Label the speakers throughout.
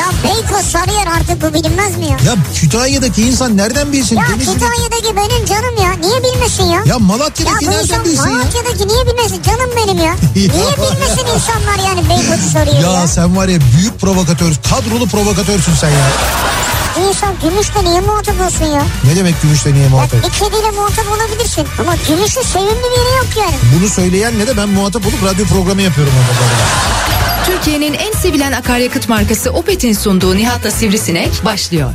Speaker 1: Ya Beykoz Sarıyer artık bu bilinmez mi ya?
Speaker 2: Ya Kütahya'daki insan nereden bilsin?
Speaker 1: Ya
Speaker 2: Denizli'deki-
Speaker 1: Kütahya'daki benim canım ya. Niye bilmesin ya?
Speaker 2: Ya
Speaker 1: Ya
Speaker 2: Malatya'daki
Speaker 1: bu
Speaker 2: nereden
Speaker 1: insan
Speaker 2: bilsin ya?
Speaker 1: Malatya'daki niye bilmesin? Canım benim ya. Niye bilmesin insanlar yani Beykoz'u soruyor ya?
Speaker 2: Ya sen var ya büyük provokatör, kadrolu provokatörsün sen ya.
Speaker 1: İnsan gümüşle niye muhatap olsun ya?
Speaker 2: Ne demek gümüşle niye
Speaker 1: Bak
Speaker 2: muhatap?
Speaker 1: bir kediyle muhatap olabilirsin. Ama gümüşün sevimli bir yeri yok yani.
Speaker 2: Bunu söyleyenle de ben muhatap olup radyo programı yapıyorum onunla beraber.
Speaker 3: Türkiye'nin en sevilen akaryakıt markası Opet'in sunduğu Nihat'la Sivrisinek başlıyor.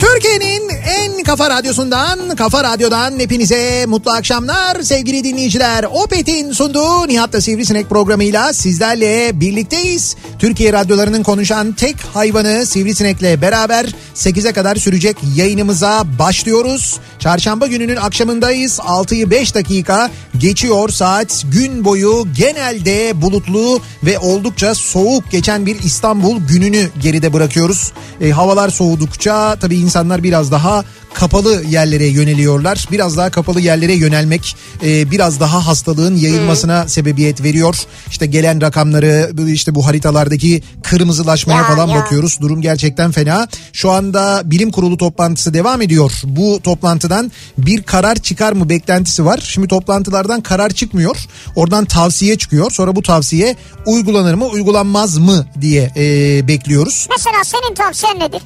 Speaker 2: Türkiye'nin en kafa radyosundan, kafa radyodan hepinize mutlu akşamlar sevgili dinleyiciler. Opet'in sunduğu Nihat'la Sivrisinek programıyla sizlerle birlikteyiz. Türkiye radyolarının konuşan tek hayvanı Sivrisinek'le beraber 8'e kadar sürecek yayınımıza başlıyoruz. Çarşamba gününün akşamındayız. 6'yı 5 dakika geçiyor saat. Gün boyu genelde bulutlu ve oldukça soğuk geçen bir İstanbul gününü geride bırakıyoruz. E, havalar soğudukça tabii insanlar biraz daha kapalı yerlere yöneliyorlar. Biraz daha kapalı yerlere yönelmek e, biraz daha hastalığın yayılmasına sebebiyet veriyor. İşte gelen rakamları işte bu haritalardaki kırmızılaşmaya
Speaker 1: Ya,
Speaker 2: falan
Speaker 1: ya.
Speaker 2: bakıyoruz bakıyoruz. Durum gerçekten fena. Şu anda bilim kurulu toplantısı devam ediyor. Bu toplantıdan bir karar çıkar mı beklentisi var. Şimdi toplantılardan karar çıkmıyor. Oradan tavsiye çıkıyor. Sonra bu tavsiye uygulanır mı uygulanmaz mı diye e, bekliyoruz.
Speaker 1: Mesela senin tavsiyen nedir?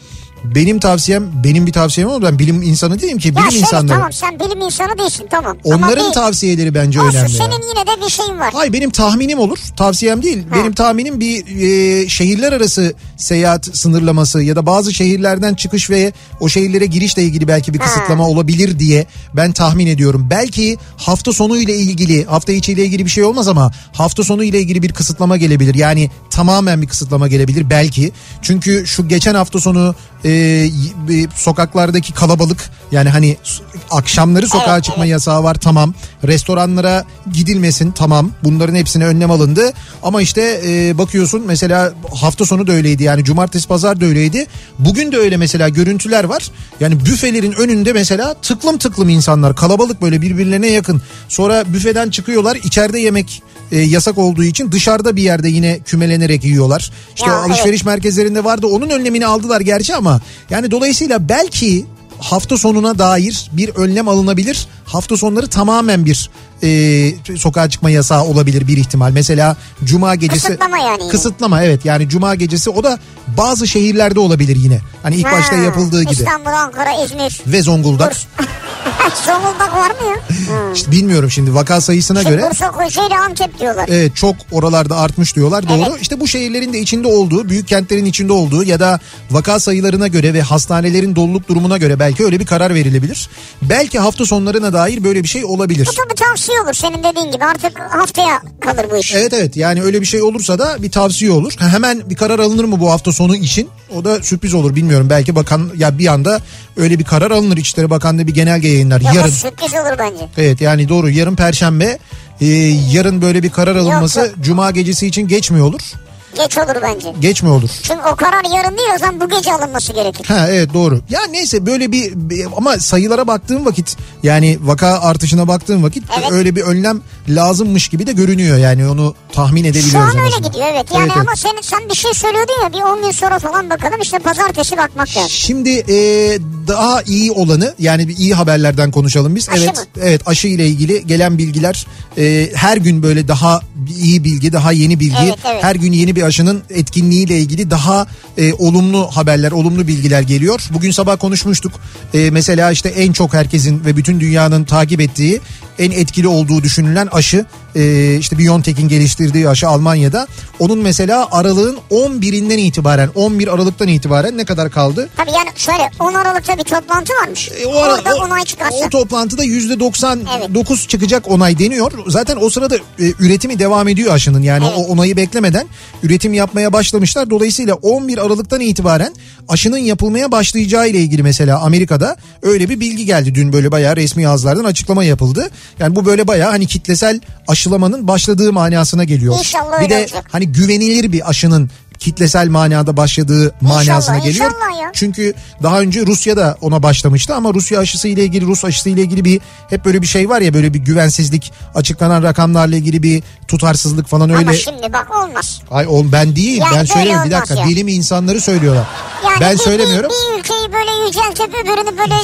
Speaker 2: Benim tavsiyem benim bir tavsiyem olmadı. Ben bilim insanı değilim ki
Speaker 1: Ya
Speaker 2: bilim
Speaker 1: senin
Speaker 2: insanları.
Speaker 1: tamam sen bilim insanı değilsin tamam. Ama
Speaker 2: Onların
Speaker 1: bir-
Speaker 2: tavsiyeleri bence
Speaker 1: Olsun
Speaker 2: önemli. ya.
Speaker 1: senin yine de bir şeyin var.
Speaker 2: Ay benim tahminim olur. Tavsiyem değil. Benim tahminim bir e, şehirler arası seyahat sınırlaması ya da bazı şehirlerden çıkış ve o şehirlere girişle ilgili belki bir kısıtlama olabilir diye ben tahmin ediyorum. Belki hafta sonu ile ilgili, hafta içi ile ilgili bir şey olmaz ama hafta sonu ile ilgili bir kısıtlama gelebilir. Yani tamamen bir kısıtlama gelebilir belki. Çünkü şu geçen hafta sonu e, y- e, sokaklardaki kalabalık yani hani s- akşamları sokağa
Speaker 1: Evet,
Speaker 2: çıkma yasağı var tamam. Restoranlara gidilmesin tamam. Bunların hepsine önlem alındı. Ama işte e, bakıyorsun mesela hafta sonu da öyleydi. Yani cumartesi pazar da öyleydi. Bugün de öyle mesela görüntüler var. Yani büfelerin önünde mesela tıklım tıklım insanlar kalabalık böyle birbirlerine yakın. Sonra büfeden çıkıyorlar içeride yemek e, yasak olduğu için dışarıda bir yerde yine kümelenerek yiyorlar. İşte
Speaker 1: Ya,
Speaker 2: o alışveriş alışveriş merkezlerinde vardı. Onun önlemini aldılar gerçi ama yani dolayısıyla belki hafta sonuna dair bir önlem alınabilir. Hafta sonları tamamen bir e, sokağa çıkma yasağı olabilir bir ihtimal. Mesela cuma gecesi
Speaker 1: Kısıtlama yani yine.
Speaker 2: Kısıtlama evet yani cuma gecesi o da bazı şehirlerde olabilir yine. Hani ilk başta
Speaker 1: Ha,
Speaker 2: yapıldığı gibi.
Speaker 1: İstanbul, Ankara, İzmir.
Speaker 2: Ve Zonguldak.
Speaker 1: Zonguldak var mı ya?
Speaker 2: İşte bilmiyorum şimdi vaka sayısına
Speaker 1: Şimdi
Speaker 2: göre. E-
Speaker 1: Bursa, Kocaeli, Antep diyorlar.
Speaker 2: Evet çok oralarda artmış diyorlar doğru.
Speaker 1: Evet.
Speaker 2: İşte bu şehirlerin de içinde olduğu, büyük kentlerin içinde olduğu ya da vaka sayılarına göre ve hastanelerin doluluk durumuna göre belki öyle bir karar verilebilir. Belki hafta sonlarına dair böyle bir şey olabilir.
Speaker 1: Bu tabii tavsiye olur senin dediğin gibi artık haftaya kalır bu iş.
Speaker 2: Evet evet yani öyle bir şey olursa da bir tavsiye olur. Ha, Hemen bir karar alınır mı bu hafta sonu için? O da sürpriz olur bilmiyorum. Belki bakan ya bir anda öyle bir karar alınır. İçişleri Bakanlığı bir genelge yayınlar
Speaker 1: Ya bu
Speaker 2: yarın.
Speaker 1: sürpriz olur bence.
Speaker 2: Evet yani doğru Ee, yarın perşembe e, yarın böyle bir karar alınması
Speaker 1: Yok,
Speaker 2: cuma gecesi için geç mi olur?
Speaker 1: Geç olur bence.
Speaker 2: Geç mi olur?
Speaker 1: Çünkü o karar yarın değil o zaman bu gece alınması gerekir.
Speaker 2: Ha evet doğru. Ya neyse böyle bir bir- ama sayılara baktığım vakit yani vaka artışına baktığım vakit
Speaker 1: Evet.
Speaker 2: öyle bir önlem lazımmış gibi de görünüyor. Yani onu tahmin edebiliyoruz.
Speaker 1: Şu an
Speaker 2: en
Speaker 1: öyle
Speaker 2: azından.
Speaker 1: gidiyor evet. Yani
Speaker 2: Evet, evet.
Speaker 1: ama Sen, sen bir şey söylüyordun ya bir 10 gün sonra falan bakalım işte pazartesi bakmak lazım.
Speaker 2: Şimdi e, daha iyi olanı yani bir iyi haberlerden konuşalım biz.
Speaker 1: Aşı
Speaker 2: evet
Speaker 1: mı?
Speaker 2: evet aşı ile ilgili gelen bilgiler e, her gün böyle daha iyi bilgi, daha yeni bilgi,
Speaker 1: Evet, evet.
Speaker 2: her gün yeni bir aşının etkinliği ile ilgili daha e, olumlu haberler, olumlu bilgiler geliyor. Bugün sabah konuşmuştuk. E, mesela işte en çok herkesin ve bütün dünyanın takip ettiği en etkili olduğu düşünülen aşı e, işte BioNTech'in geliştirdiği aşı Almanya'da. Onun mesela aralığın 11'inden itibaren 11 Aralık'tan itibaren ne kadar kaldı?
Speaker 1: Tabii yani şöyle 10 Aralık'ta bir toplantı varmış.
Speaker 2: E, o ara-
Speaker 1: Orada
Speaker 2: o-
Speaker 1: onay çıkarsa.
Speaker 2: O toplantıda yüzde 99 çıkacak onay deniyor. Zaten o sırada e, üretimi devam ediyor aşının. Yani
Speaker 1: Evet.
Speaker 2: o onayı beklemeden üretim yapmaya başlamışlar. Dolayısıyla 11 Aralık'tan itibaren aşının yapılmaya başlayacağı ile ilgili mesela Amerika'da öyle bir bilgi geldi. Dün böyle bayağı resmi ağızlardan açıklama yapıldı. Yani bu böyle bayağı hani kitlesel aşılamanın başladığı manasına geliyor.
Speaker 1: İnşallah
Speaker 2: bir
Speaker 1: öyle
Speaker 2: de
Speaker 1: olacak.
Speaker 2: hani güvenilir bir aşının kitlesel manada başladığı manasına geliyor.
Speaker 1: inşallah ya.
Speaker 2: Çünkü daha önce Rusya da ona başlamıştı ama Rusya aşısı ile ilgili Rus aşısı ile ilgili bir hep böyle bir şey var ya böyle bir güvensizlik açıklanan rakamlarla ilgili bir tutarsızlık falan öyle.
Speaker 1: Ama şimdi bak olmaz.
Speaker 2: Ay oğlum ben değil
Speaker 1: Yani
Speaker 2: ben
Speaker 1: böyle
Speaker 2: söylemiyorum bir
Speaker 1: olmaz
Speaker 2: dakika
Speaker 1: ya.
Speaker 2: bilim insanları söylüyorlar.
Speaker 1: Yani
Speaker 2: ben
Speaker 1: bir- bir-
Speaker 2: söylemiyorum.
Speaker 1: Bir, ülkeyi böyle yüceltip öbürünü böyle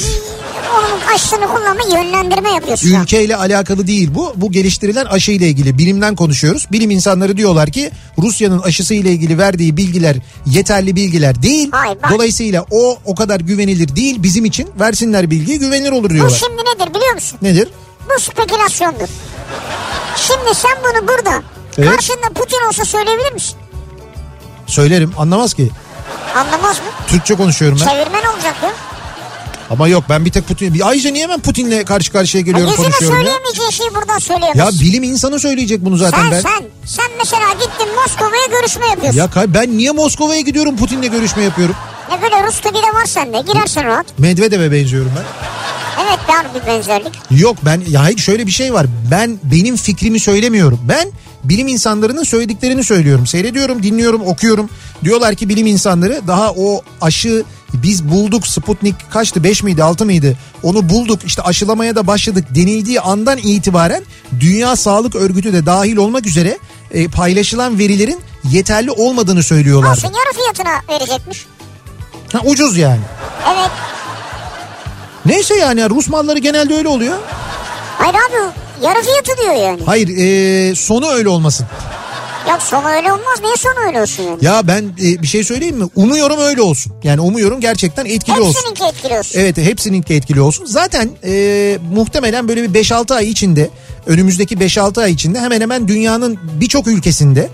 Speaker 1: onun aşısını kullanma yönlendirme yapıyorsun. ya.
Speaker 2: Ülkeyle alakalı değil bu. Bu geliştirilen aşı ile ilgili bilimden konuşuyoruz. Bilim insanları diyorlar ki Rusya'nın aşısı ile ilgili verdiği bilgiler yeterli bilgiler değil.
Speaker 1: Hayır, bak.
Speaker 2: Dolayısıyla o o kadar güvenilir değil bizim için. Versinler bilgiyi güvenilir olur
Speaker 1: Bu
Speaker 2: diyorlar.
Speaker 1: şimdi nedir biliyor musun?
Speaker 2: Nedir?
Speaker 1: Bu spekülasyondur. Şimdi sen bunu burada
Speaker 2: Evet.
Speaker 1: karşında Putin olsa söyleyebilir misin?
Speaker 2: Söylerim anlamaz ki.
Speaker 1: Anlamaz mı?
Speaker 2: Türkçe konuşuyorum ben.
Speaker 1: Çevirmen olacak ya.
Speaker 2: Ama yok ben bir tek Putin. Bir- Ayrıca niye ben Putin'le karşı karşıya geliyorum
Speaker 1: Yüzüne
Speaker 2: konuşuyorum ya?
Speaker 1: söyleyemeyeceği şeyi buradan
Speaker 2: Ya
Speaker 1: söyleyemez.
Speaker 2: bilim insanı söyleyecek bunu zaten
Speaker 1: sen
Speaker 2: ben.
Speaker 1: sen. Sen mesela gittin Moskova'ya görüşme yapıyorsun.
Speaker 2: Ya kay- ben niye Moskova'ya gidiyorum Putin'le görüşme yapıyorum?
Speaker 1: Ne böyle Rus gibi de var sende. Girersin rahat.
Speaker 2: Medvedev'e benziyorum ben.
Speaker 1: Evet var bir benzerlik.
Speaker 2: Yok ben ya hayır şöyle bir şey var. Ben benim fikrimi söylemiyorum. Ben bilim insanlarının söylediklerini söylüyorum. Seyrediyorum, dinliyorum, okuyorum. Diyorlar ki bilim insanları daha o aşı biz bulduk Sputnik kaçtı 5 miydi 6 mıydı onu bulduk işte aşılamaya da başladık denildiği andan itibaren Dünya Sağlık Örgütü de dahil olmak üzere e, paylaşılan verilerin yeterli olmadığını söylüyorlar.
Speaker 1: Olsun yarı fiyatına verecekmiş.
Speaker 2: Ha, ucuz yani.
Speaker 1: Evet.
Speaker 2: Neyse yani Rus malları genelde öyle oluyor.
Speaker 1: Hayır abi yarı fiyatı diyor yani.
Speaker 2: Hayır e, sonu öyle olmasın.
Speaker 1: Ya sonu öyle olmaz. Niye sonu öyle olsun yani?
Speaker 2: Ya ben e, bir şey söyleyeyim mi? Umuyorum öyle olsun. Yani umuyorum gerçekten etkili olsun. E,
Speaker 1: Hepsininki etkili olsun.
Speaker 2: Evet hepsininki etkili olsun. Zaten e, muhtemelen böyle bir 5-6 ay içinde önümüzdeki 5-6 ay içinde hemen hemen dünyanın birçok ülkesinde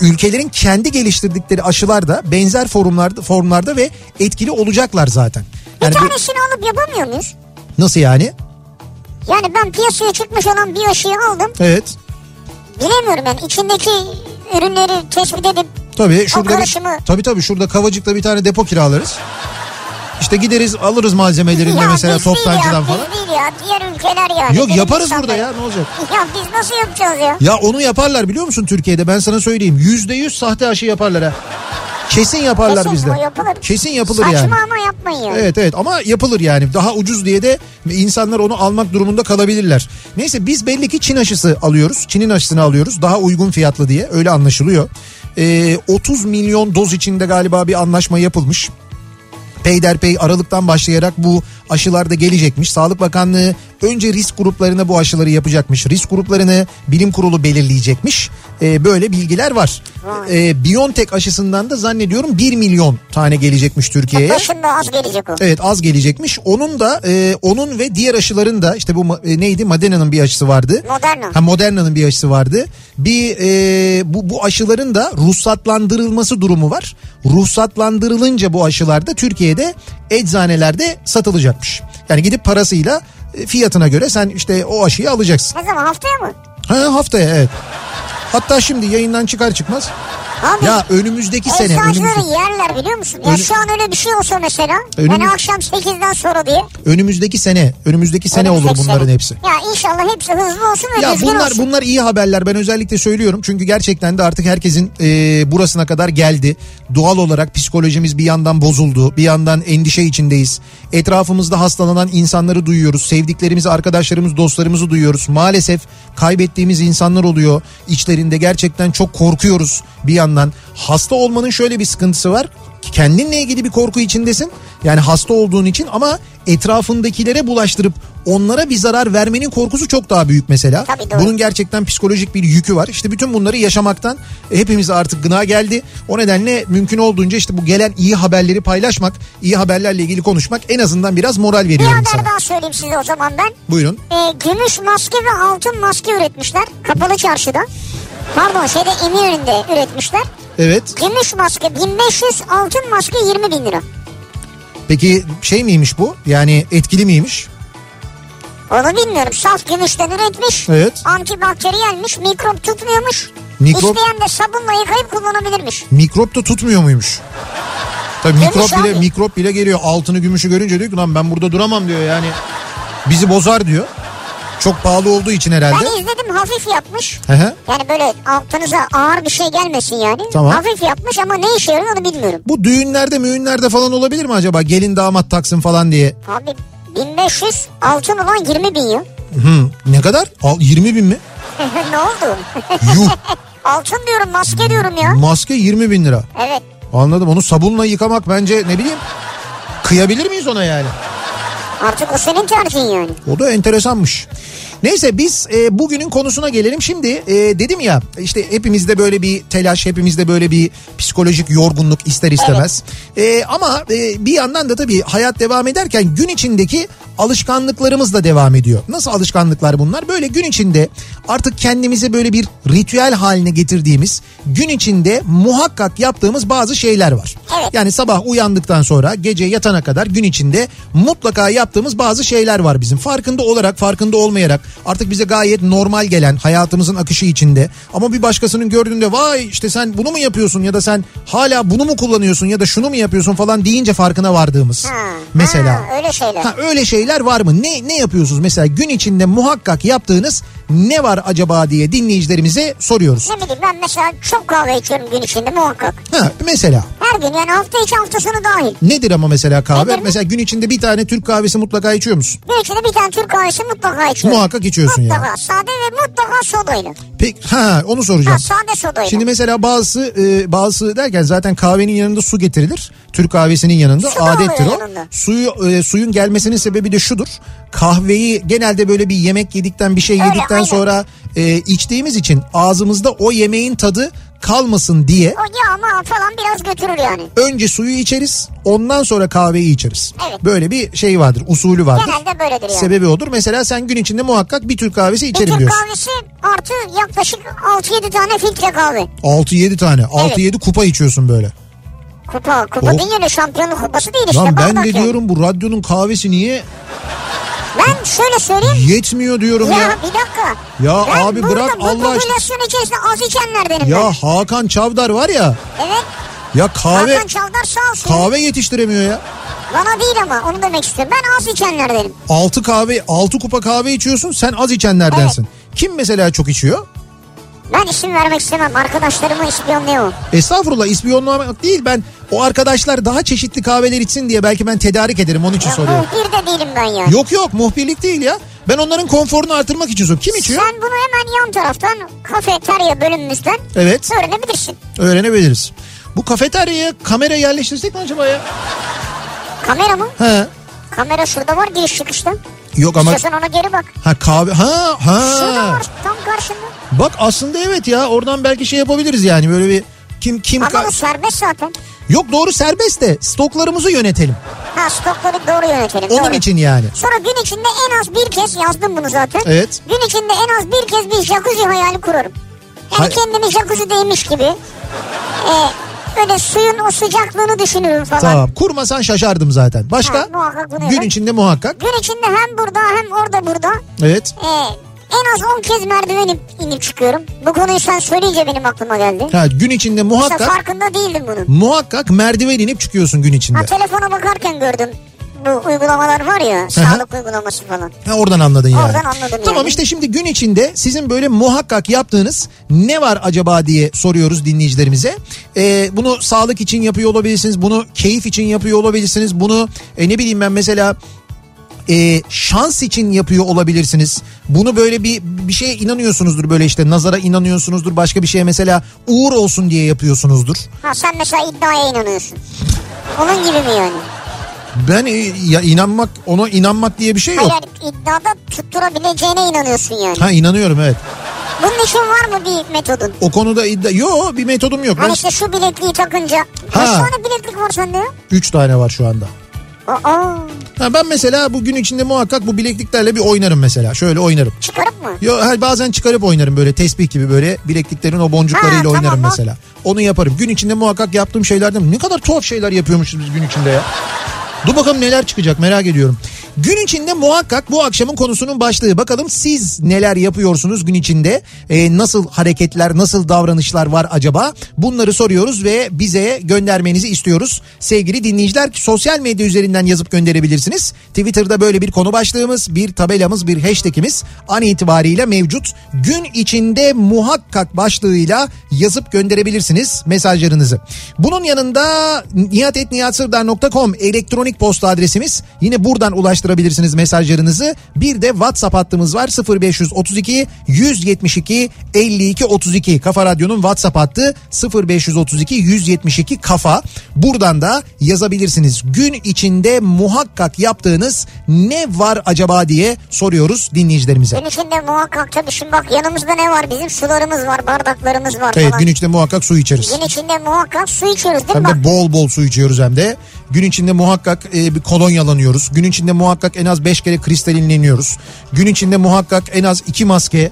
Speaker 2: ülkelerin kendi geliştirdikleri aşılarda benzer forumlarda formlarda ve etkili olacaklar zaten. Yani
Speaker 1: bir
Speaker 2: bu-
Speaker 1: tanesini alıp yapamıyor muyuz?
Speaker 2: nasıl yani?
Speaker 1: Yani ben piyasaya çıkmış olan bir aşıyı aldım.
Speaker 2: Evet.
Speaker 1: Bilemiyorum ben içindeki ürünleri tespit edip
Speaker 2: Tabii şurada bir,
Speaker 1: karışımı.
Speaker 2: tabii tabii şurada Kavacık'ta bir tane depo kiralarız. İşte gideriz alırız malzemelerini de mesela
Speaker 1: biz değil
Speaker 2: toptancıdan
Speaker 1: ya,
Speaker 2: falan.
Speaker 1: Biz değil ya diğer ülkeler yani.
Speaker 2: Yok
Speaker 1: Benim
Speaker 2: yaparız
Speaker 1: insanlar.
Speaker 2: burada ya ne olacak?
Speaker 1: Ya biz nasıl yapacağız ya?
Speaker 2: Ya onu yaparlar biliyor musun Türkiye'de ben sana söyleyeyim. Yüzde yüz sahte aşı yaparlar ha. Kesin yaparlar
Speaker 1: Kesin
Speaker 2: bizde.
Speaker 1: o yapılır.
Speaker 2: Kesin yapılır
Speaker 1: Saçma
Speaker 2: yani.
Speaker 1: ama yapmayın yani.
Speaker 2: Evet evet ama yapılır yani daha ucuz diye de insanlar onu almak durumunda kalabilirler. Neyse biz belli ki Çin aşısı alıyoruz. Çin'in aşısını alıyoruz daha uygun fiyatlı diye öyle anlaşılıyor. Ee, 30 milyon doz içinde galiba bir anlaşma yapılmış peyderpey Aralık'tan başlayarak bu aşılar da gelecekmiş. Sağlık Bakanlığı önce risk gruplarına bu aşıları yapacakmış. Risk gruplarını bilim kurulu belirleyecekmiş. Ee, böyle bilgiler var. Ee, BioNTech aşısından da zannediyorum 1 milyon tane gelecekmiş Türkiye'ye.
Speaker 1: Başında az gelecek o.
Speaker 2: Evet az gelecekmiş. Onun da e, onun ve diğer aşıların da işte bu ma- e, neydi Moderna'nın bir aşısı vardı.
Speaker 1: Moderna.
Speaker 2: Ha Moderna'nın bir aşısı vardı. Bir e, bu bu aşıların da ruhsatlandırılması durumu var. Ruhsatlandırılınca bu aşılar da Türkiye'de eczanelerde satılacakmış. Yani gidip parasıyla e, fiyatına göre sen işte o aşıyı alacaksın.
Speaker 1: Ne zaman haftaya mı?
Speaker 2: Ha haftaya evet. Hatta şimdi yayından çıkar çıkmaz
Speaker 1: Abi,
Speaker 2: Ya önümüzdeki sene
Speaker 1: Eczacıları
Speaker 2: önümüzdeki,
Speaker 1: yerler biliyor musun? Ya
Speaker 2: Önü-
Speaker 1: şu an öyle bir şey olsa mesela.
Speaker 2: Önümüz-
Speaker 1: Yani akşam 8'den sonra diye.
Speaker 2: önümüzdeki sene önümüzdeki sene olur
Speaker 1: önümüzdeki
Speaker 2: bunların
Speaker 1: sene.
Speaker 2: hepsi.
Speaker 1: şey. Ya inşallah hepsi hızlı olsun ve
Speaker 2: Ya
Speaker 1: düzgün
Speaker 2: bunlar
Speaker 1: olsun.
Speaker 2: bunlar iyi haberler ben özellikle söylüyorum çünkü gerçekten de artık herkesin e, burasına kadar geldi. Doğal olarak psikolojimiz bir yandan bozuldu bir yandan endişe içindeyiz. Etrafımızda hastalanan insanları duyuyoruz sevdiklerimizi arkadaşlarımız dostlarımızı duyuyoruz. Maalesef kaybettiğimiz insanlar oluyor içlerinde gerçekten çok korkuyoruz bir yandan. Hasta olmanın şöyle bir sıkıntısı var kendinle ilgili bir korku içindesin. Yani hasta olduğun için ama etrafındakilere bulaştırıp onlara bir zarar vermenin korkusu çok daha büyük mesela.
Speaker 1: Tabii, doğru.
Speaker 2: Bunun gerçekten psikolojik bir yükü var. İşte bütün bunları yaşamaktan e, hepimiz artık gına geldi. O nedenle mümkün olduğunca işte bu gelen iyi haberleri paylaşmak, iyi haberlerle ilgili konuşmak en azından biraz moral
Speaker 1: Bir
Speaker 2: veriyor
Speaker 1: haber
Speaker 2: insana.
Speaker 1: daha söyleyeyim size o zaman ben.
Speaker 2: Buyurun.
Speaker 1: Ee, gümüş maske ve altın maske üretmişler. Kapalı çarşıda. Pardon şeyde Eminönü'nde üretmişler.
Speaker 2: Evet.
Speaker 1: Gümüş maske 1500, altın maske 20 bin lira.
Speaker 2: Peki şey miymiş bu? Yani etkili miymiş?
Speaker 1: Onu bilmiyorum. Saf gümüşten üretmiş.
Speaker 2: Evet.
Speaker 1: Antibakteriyelmiş. Mikrop tutmuyormuş.
Speaker 2: Mikrop-
Speaker 1: İsteyen de sabunla yıkayıp kullanabilirmiş.
Speaker 2: Mikrop da tutmuyor muymuş? Tabii
Speaker 1: Gümüş
Speaker 2: mikrop bile
Speaker 1: abi.
Speaker 2: mikrop bile geliyor. Altını gümüşü görünce diyor ki lan ben burada duramam diyor yani. Bizi bozar diyor. Çok pahalı olduğu için herhalde.
Speaker 1: Ben izledim hafif yapmış.
Speaker 2: Hı hı.
Speaker 1: Yani böyle altınıza ağır bir şey gelmesin yani.
Speaker 2: Tamam.
Speaker 1: Hafif yapmış ama ne işe yarıyor onu bilmiyorum.
Speaker 2: Bu düğünlerde müğünlerde falan olabilir mi acaba? Gelin damat taksın falan diye.
Speaker 1: Abi 1500 altın olan 20 bin ya.
Speaker 2: Hı, ne kadar? Al, 20 bin mi?
Speaker 1: ne oldu?
Speaker 2: Yuh.
Speaker 1: altın diyorum maske diyorum ya.
Speaker 2: Maske 20 bin lira.
Speaker 1: Evet.
Speaker 2: Anladım onu sabunla yıkamak bence ne bileyim. Kıyabilir miyiz ona yani?
Speaker 1: Artık o senin tercihin yani.
Speaker 2: O da enteresanmış. Neyse biz e, bugünün konusuna gelelim. Şimdi e, dedim ya işte hepimizde böyle bir telaş, hepimizde böyle bir psikolojik yorgunluk ister istemez. E, ama e, bir yandan da tabii hayat devam ederken gün içindeki alışkanlıklarımız da devam ediyor. Nasıl alışkanlıklar bunlar? Böyle gün içinde artık kendimize böyle bir ritüel haline getirdiğimiz, gün içinde muhakkak yaptığımız bazı şeyler var.
Speaker 1: Evet.
Speaker 2: Yani sabah uyandıktan sonra gece yatana kadar gün içinde mutlaka yaptığımız bazı şeyler var bizim. Farkında olarak farkında olmayarak artık bize gayet normal gelen hayatımızın akışı içinde. Ama bir başkasının gördüğünde vay işte sen bunu mu yapıyorsun ya da sen hala bunu mu kullanıyorsun ya da şunu mu yapıyorsun falan deyince farkına vardığımız.
Speaker 1: Ha,
Speaker 2: Mesela.
Speaker 1: ha, öyle şeyler.
Speaker 2: Ha, öyle şeyler var mı? Ne ne yapıyorsunuz mesela gün içinde muhakkak yaptığınız ne var acaba diye dinleyicilerimize soruyoruz.
Speaker 1: Ne bileyim ben mesela çok kahve içiyorum gün içinde muhakkak.
Speaker 2: Ha, mesela
Speaker 1: Her gün yani hafta içi hafta sonu dahil.
Speaker 2: Nedir ama mesela kahve?
Speaker 1: Nedir?
Speaker 2: Mesela gün içinde bir tane Türk kahvesi mutlaka içiyor musun?
Speaker 1: Gün içinde bir tane Türk kahvesi mutlaka içiyorum.
Speaker 2: Muhakkak içiyorsun
Speaker 1: mutlaka
Speaker 2: ya.
Speaker 1: sade ve mutlaka sodayla.
Speaker 2: Peki ha onu
Speaker 1: Ha,
Speaker 2: soracağım.
Speaker 1: sade sodayla.
Speaker 2: Şimdi mesela bazısı e, bazısı derken zaten kahvenin yanında su getirilir. Türk kahvesinin yanında
Speaker 1: Su da
Speaker 2: adettir
Speaker 1: oluyor
Speaker 2: o.
Speaker 1: yanında.
Speaker 2: Suyu e, suyun gelmesinin sebebi de şudur. Kahveyi genelde böyle bir yemek yedikten bir şey
Speaker 1: Öyle,
Speaker 2: yedikten
Speaker 1: aynen.
Speaker 2: sonra e, içtiğimiz için ağzımızda o yemeğin tadı kalmasın diye
Speaker 1: O yağma falan biraz götürür yani.
Speaker 2: önce suyu içeriz ondan sonra kahveyi içeriz.
Speaker 1: Evet.
Speaker 2: Böyle bir şey vardır usulü vardır.
Speaker 1: Genelde böyledir yani.
Speaker 2: Sebebi odur. Mesela sen gün içinde muhakkak bir Türk kahvesi
Speaker 1: bir
Speaker 2: içerim
Speaker 1: Türk
Speaker 2: diyorsun.
Speaker 1: kahvesi artı yaklaşık 6-7 tane filtre kahve.
Speaker 2: 6-7 tane. 6-7 kupa içiyorsun böyle.
Speaker 1: Kupa, kupa
Speaker 2: Oh.
Speaker 1: değil öyle şampiyonluk kupası değil işte.
Speaker 2: Lan ben
Speaker 1: bardak
Speaker 2: de
Speaker 1: yani.
Speaker 2: diyorum bu radyonun kahvesi niye
Speaker 1: Ben şöyle söyleyeyim.
Speaker 2: yetmiyor diyorum
Speaker 1: Ya,
Speaker 2: ya.
Speaker 1: bir dakika.
Speaker 2: Ya
Speaker 1: ben
Speaker 2: abi
Speaker 1: burada
Speaker 2: bırak
Speaker 1: bu
Speaker 2: Allah aşkına.
Speaker 1: popülasyon içerisinde az içenlerdenim
Speaker 2: Ya Hakan Çavdar var ya.
Speaker 1: ben. Evet.
Speaker 2: Ya kahve
Speaker 1: Hakan Çavdar sağ olsun.
Speaker 2: kahve yetiştiremiyor ya.
Speaker 1: Bana değil ama onu demek istiyorum. Ben az içenlerdenim.
Speaker 2: 6 kahve 6 kupa kahve içiyorsun sen az içenlerdensin. Kim mesela çok içiyor?
Speaker 1: Ben isim vermek istemem. Arkadaşlarımı ispiyonluyor.
Speaker 2: Estağfurullah ispiyonlamak değil ben o arkadaşlar daha çeşitli kahveler içsin diye belki ben tedarik ederim onun için
Speaker 1: Ya,
Speaker 2: soruyorum.
Speaker 1: bir de değilim ben yani.
Speaker 2: şey Yok yok muhbirlik değil ya. Ben onların konforunu artırmak için soruyorum. Kim içiyor?
Speaker 1: Sen bunu hemen yan taraftan kafeterya bölümümüzden
Speaker 2: Evet.
Speaker 1: öğrenebilirsin.
Speaker 2: Öğrenebiliriz. Bu kafeteryaya kamera yerleştirsek mi acaba ya?
Speaker 1: Kamera mı?
Speaker 2: He.
Speaker 1: Kamera şurada var giriş çıkışta.
Speaker 2: Yok ama
Speaker 1: İstiyorsan ona geri bak.
Speaker 2: ha kahve ha
Speaker 1: Şurada
Speaker 2: ha.
Speaker 1: var tam karşında.
Speaker 2: Bak aslında evet ya oradan belki şey yapabiliriz yani böyle bir kim kim
Speaker 1: Ama bu
Speaker 2: ka-
Speaker 1: serbest zaten.
Speaker 2: Yok doğru serbest de stoklarımızı yönetelim.
Speaker 1: Ha stokları doğru yönetelim.
Speaker 2: Onun
Speaker 1: doğru.
Speaker 2: için yani.
Speaker 1: Sonra gün içinde en az bir kez yazdım bunu zaten.
Speaker 2: Evet.
Speaker 1: Gün içinde en az bir kez bir jacuzzi hayali kurarım. Yani
Speaker 2: Hay-
Speaker 1: kendimi jacuzzideymiş gibi. Ee, böyle suyun o sıcaklığını düşünürüm falan.
Speaker 2: Tamam. Kurmasan şaşardım zaten. Başka?
Speaker 1: Ha, muhakkak bunu
Speaker 2: Gün
Speaker 1: evet.
Speaker 2: içinde muhakkak.
Speaker 1: Gün içinde hem burada hem orada burada
Speaker 2: Evet.
Speaker 1: ee, en az 10 kez merdiven inip, inip çıkıyorum. Bu konuyu sen söyleyince benim aklıma geldi.
Speaker 2: Ha, gün içinde
Speaker 1: Mesela
Speaker 2: muhakkak
Speaker 1: farkında değildim bunun.
Speaker 2: muhakkak merdiven inip çıkıyorsun gün içinde.
Speaker 1: Ha telefona bakarken gördüm. Bu uygulamalar var ya sağlık uygulaması falan.
Speaker 2: Ha, oradan anladın yani.
Speaker 1: Oradan anladım
Speaker 2: Tamam
Speaker 1: yani.
Speaker 2: işte şimdi gün içinde sizin böyle muhakkak yaptığınız ne var acaba diye soruyoruz dinleyicilerimize. Ee, bunu sağlık için yapıyor olabilirsiniz. Bunu keyif için yapıyor olabilirsiniz. Bunu e, ne bileyim ben mesela e, şans için yapıyor olabilirsiniz. Bunu böyle bir bir şeye inanıyorsunuzdur böyle işte nazara inanıyorsunuzdur. Başka bir şeye mesela uğur olsun diye yapıyorsunuzdur.
Speaker 1: Ha sen mesela iddiaya inanıyorsun. Onun gibi mi yani?
Speaker 2: Ben e, ya inanmak ona inanmak diye bir şey yok.
Speaker 1: Hayır iddiada tutturabileceğine inanıyorsun yani.
Speaker 2: Ha inanıyorum evet.
Speaker 1: Bunun için var mı bir metodun?
Speaker 2: O konuda iddia yok bir metodum yok.
Speaker 1: Hani
Speaker 2: Ben
Speaker 1: işte şu bilekliği takınca.
Speaker 2: Ha.
Speaker 1: Kaç tane bileklik var sende ya?
Speaker 2: 3 tane var şu anda.
Speaker 1: Aa,
Speaker 2: Ha ben mesela bu gün içinde muhakkak bu bilekliklerle bir oynarım mesela. Şöyle oynarım.
Speaker 1: çıkarıp mı?
Speaker 2: Yo, her bazen çıkarıp oynarım böyle tesbih gibi böyle bilekliklerin o boncuklarıyla
Speaker 1: Ha, tamam,
Speaker 2: oynarım
Speaker 1: bak.
Speaker 2: mesela. Onu yaparım. Gün içinde muhakkak yaptığım şeylerden ne kadar tuhaf şeyler yapıyormuşuz biz gün içinde ya. Dur bakalım neler çıkacak merak ediyorum. Gün içinde muhakkak bu akşamın konusunun başlığı. Bakalım siz neler yapıyorsunuz gün içinde? Ee, nasıl hareketler, nasıl davranışlar var acaba? Bunları soruyoruz ve bize göndermenizi istiyoruz. Sevgili dinleyiciler sosyal medya üzerinden yazıp gönderebilirsiniz. Twitter'da böyle bir konu başlığımız, bir tabelamız, bir hashtagimiz an itibariyle mevcut. Gün içinde muhakkak başlığıyla yazıp gönderebilirsiniz mesajlarınızı. Bunun yanında nihatetnihatsırdar.com elektronik posta adresimiz. Yine buradan ulaştırabilirsiniz mesajlarınızı. Bir de WhatsApp hattımız var 0532 172 52 32. Kafa Radyo'nun WhatsApp hattı 0532 172 kafa. Buradan da yazabilirsiniz. Gün içinde muhakkak yaptığınız ne var acaba diye soruyoruz dinleyicilerimize.
Speaker 1: Gün içinde muhakkak tabii şimdi bak yanımızda ne var? Bizim sularımız var, bardaklarımız var
Speaker 2: Evet
Speaker 1: falan.
Speaker 2: gün içinde muhakkak su içeriz.
Speaker 1: Gün içinde muhakkak su içiyoruz değil mi?
Speaker 2: Hem
Speaker 1: Bak,
Speaker 2: de bol bol su içiyoruz hem de. Gün içinde muhakkak e, bir kolonyalanıyoruz. Gün içinde muhakkak en az 5 kere kristalinleniyoruz. Gün içinde muhakkak en az 2 maske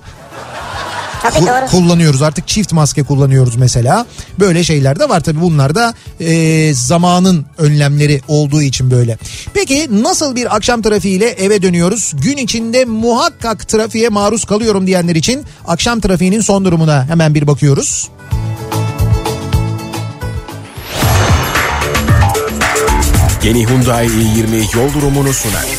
Speaker 1: tabii
Speaker 2: ku-
Speaker 1: doğru.
Speaker 2: kullanıyoruz. Artık çift maske kullanıyoruz mesela. Böyle şeyler de var tabii bunlar da e, zamanın önlemleri olduğu için böyle. Peki nasıl bir akşam trafiğiyle eve dönüyoruz? Gün içinde muhakkak trafiğe maruz kalıyorum diyenler için akşam trafiğinin son durumuna hemen bir bakıyoruz.
Speaker 4: Yeni Hyundai i20 yol durumunu sunar.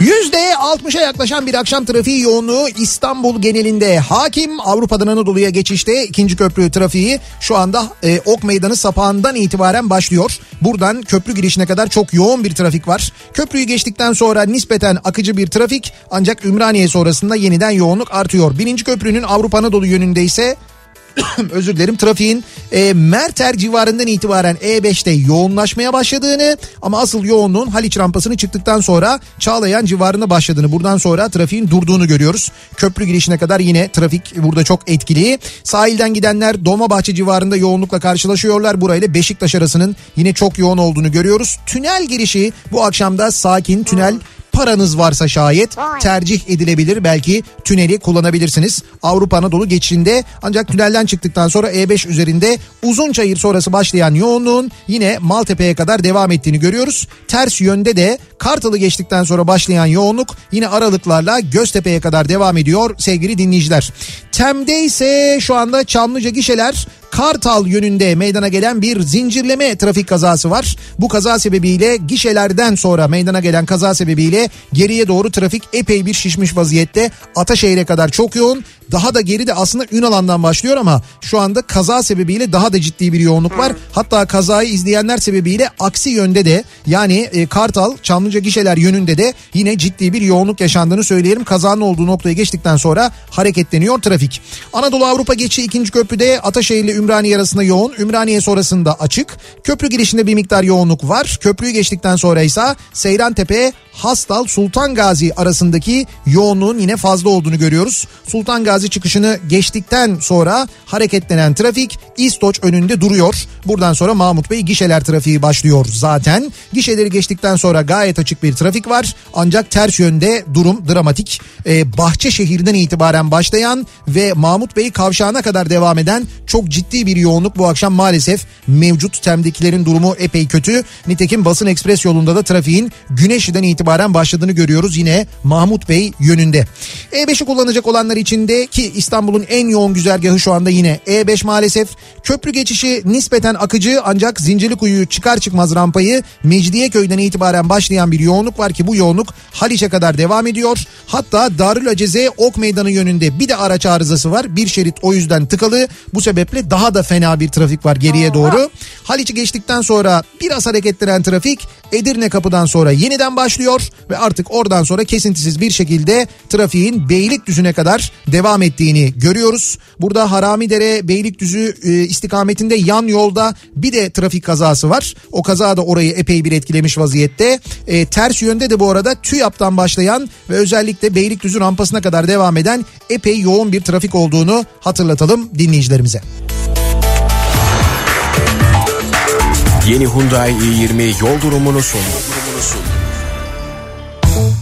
Speaker 2: %60'a yaklaşan bir akşam trafiği yoğunluğu İstanbul genelinde hakim. Avrupa'dan Anadolu'ya geçişte ikinci köprü trafiği şu anda e, Ok Meydanı sapağından itibaren başlıyor. Buradan köprü girişine kadar çok yoğun bir trafik var. Köprüyü geçtikten sonra nispeten akıcı bir trafik ancak Ümraniye sonrasında yeniden yoğunluk artıyor. Birinci köprünün Avrupa Anadolu yönünde ise özür dilerim trafiğin e, Merter civarından itibaren E5'te yoğunlaşmaya başladığını ama asıl yoğunluğun Haliç rampasını çıktıktan sonra Çağlayan civarına başladığını buradan sonra trafiğin durduğunu görüyoruz. Köprü girişine kadar yine trafik burada çok etkili. Sahilden gidenler Dolmabahçe civarında yoğunlukla karşılaşıyorlar. Burayla Beşiktaş arasının yine çok yoğun olduğunu görüyoruz. Tünel girişi bu akşamda sakin tünel paranız varsa şayet
Speaker 1: Vay.
Speaker 2: tercih edilebilir. Belki tüneli kullanabilirsiniz. Avrupa Anadolu geçişinde ancak tünelden çıktıktan sonra E5 üzerinde uzun çayır sonrası başlayan yoğunluğun yine Maltepe'ye kadar devam ettiğini görüyoruz. Ters yönde de Kartal'ı geçtikten sonra başlayan yoğunluk yine aralıklarla Göztepe'ye kadar devam ediyor sevgili dinleyiciler. Tem'de ise şu anda Çamlıca gişeler Kartal yönünde meydana gelen bir zincirleme trafik kazası var. Bu kaza sebebiyle gişelerden sonra meydana gelen kaza sebebiyle geriye doğru trafik epey bir şişmiş vaziyette. Ataşehir'e kadar çok yoğun. Daha da geri de aslında Ünalan'dan başlıyor ama şu anda kaza sebebiyle daha da ciddi bir yoğunluk var. Hatta kazayı izleyenler sebebiyle aksi yönde de yani e, Kartal Çamlıca gişeler yönünde de yine ciddi bir yoğunluk yaşandığını söyleyelim. Kazanın olduğu noktaya geçtikten sonra hareketleniyor trafik. Anadolu Avrupa geçişi ikinci köprüde Ataşehir ile Ümraniye arasında yoğun. Ümraniye sonrasında açık. Köprü girişinde bir miktar yoğunluk var. Köprüyü geçtikten sonra ise Seyrantepe Hastal Sultan Gazi arasındaki yoğunluğun yine fazla olduğunu görüyoruz. Sultan Gazi çıkışını geçtikten sonra hareketlenen trafik İstoç önünde duruyor. Buradan sonra Mahmut Bey gişeler trafiği başlıyor zaten. Gişeleri geçtikten sonra gayet açık bir trafik var. Ancak ters yönde durum dramatik. Ee, Bahçeşehir'den itibaren başlayan ve Mahmut Bey kavşağına kadar devam eden çok ciddi ciddi bir yoğunluk bu akşam maalesef mevcut temdekilerin durumu epey kötü. Nitekim basın ekspres yolunda da trafiğin Güneşli'den itibaren başladığını görüyoruz yine Mahmut Bey yönünde. E5'i kullanacak olanlar için de ki İstanbul'un en yoğun güzergahı şu anda yine E5 maalesef. Köprü geçişi nispeten akıcı ancak Zincirlikuyu'yu çıkar çıkmaz rampayı Mecidiyeköy'den itibaren başlayan bir yoğunluk var ki bu yoğunluk Haliç'e kadar devam ediyor. Hatta Darül Aceze Ok Meydanı yönünde bir de araç arızası var. Bir şerit o yüzden tıkalı. Bu sebeple daha da fena bir trafik var geriye doğru. Haliç'i geçtikten sonra biraz hareketlendiren trafik Edirne kapıdan sonra yeniden başlıyor ve artık oradan sonra kesintisiz bir şekilde trafiğin Beylikdüzü'ne kadar devam ettiğini görüyoruz. Burada Haramidere Beylikdüzü e, istikametinde yan yolda bir de trafik kazası var. O kaza da orayı epey bir etkilemiş vaziyette. E, ters yönde de bu arada TÜYAP'tan başlayan ve özellikle Beylikdüzü rampasına kadar devam eden epey yoğun bir trafik olduğunu hatırlatalım dinleyicilerimize.
Speaker 4: Yeni Hyundai i20 yol durumunu sundu.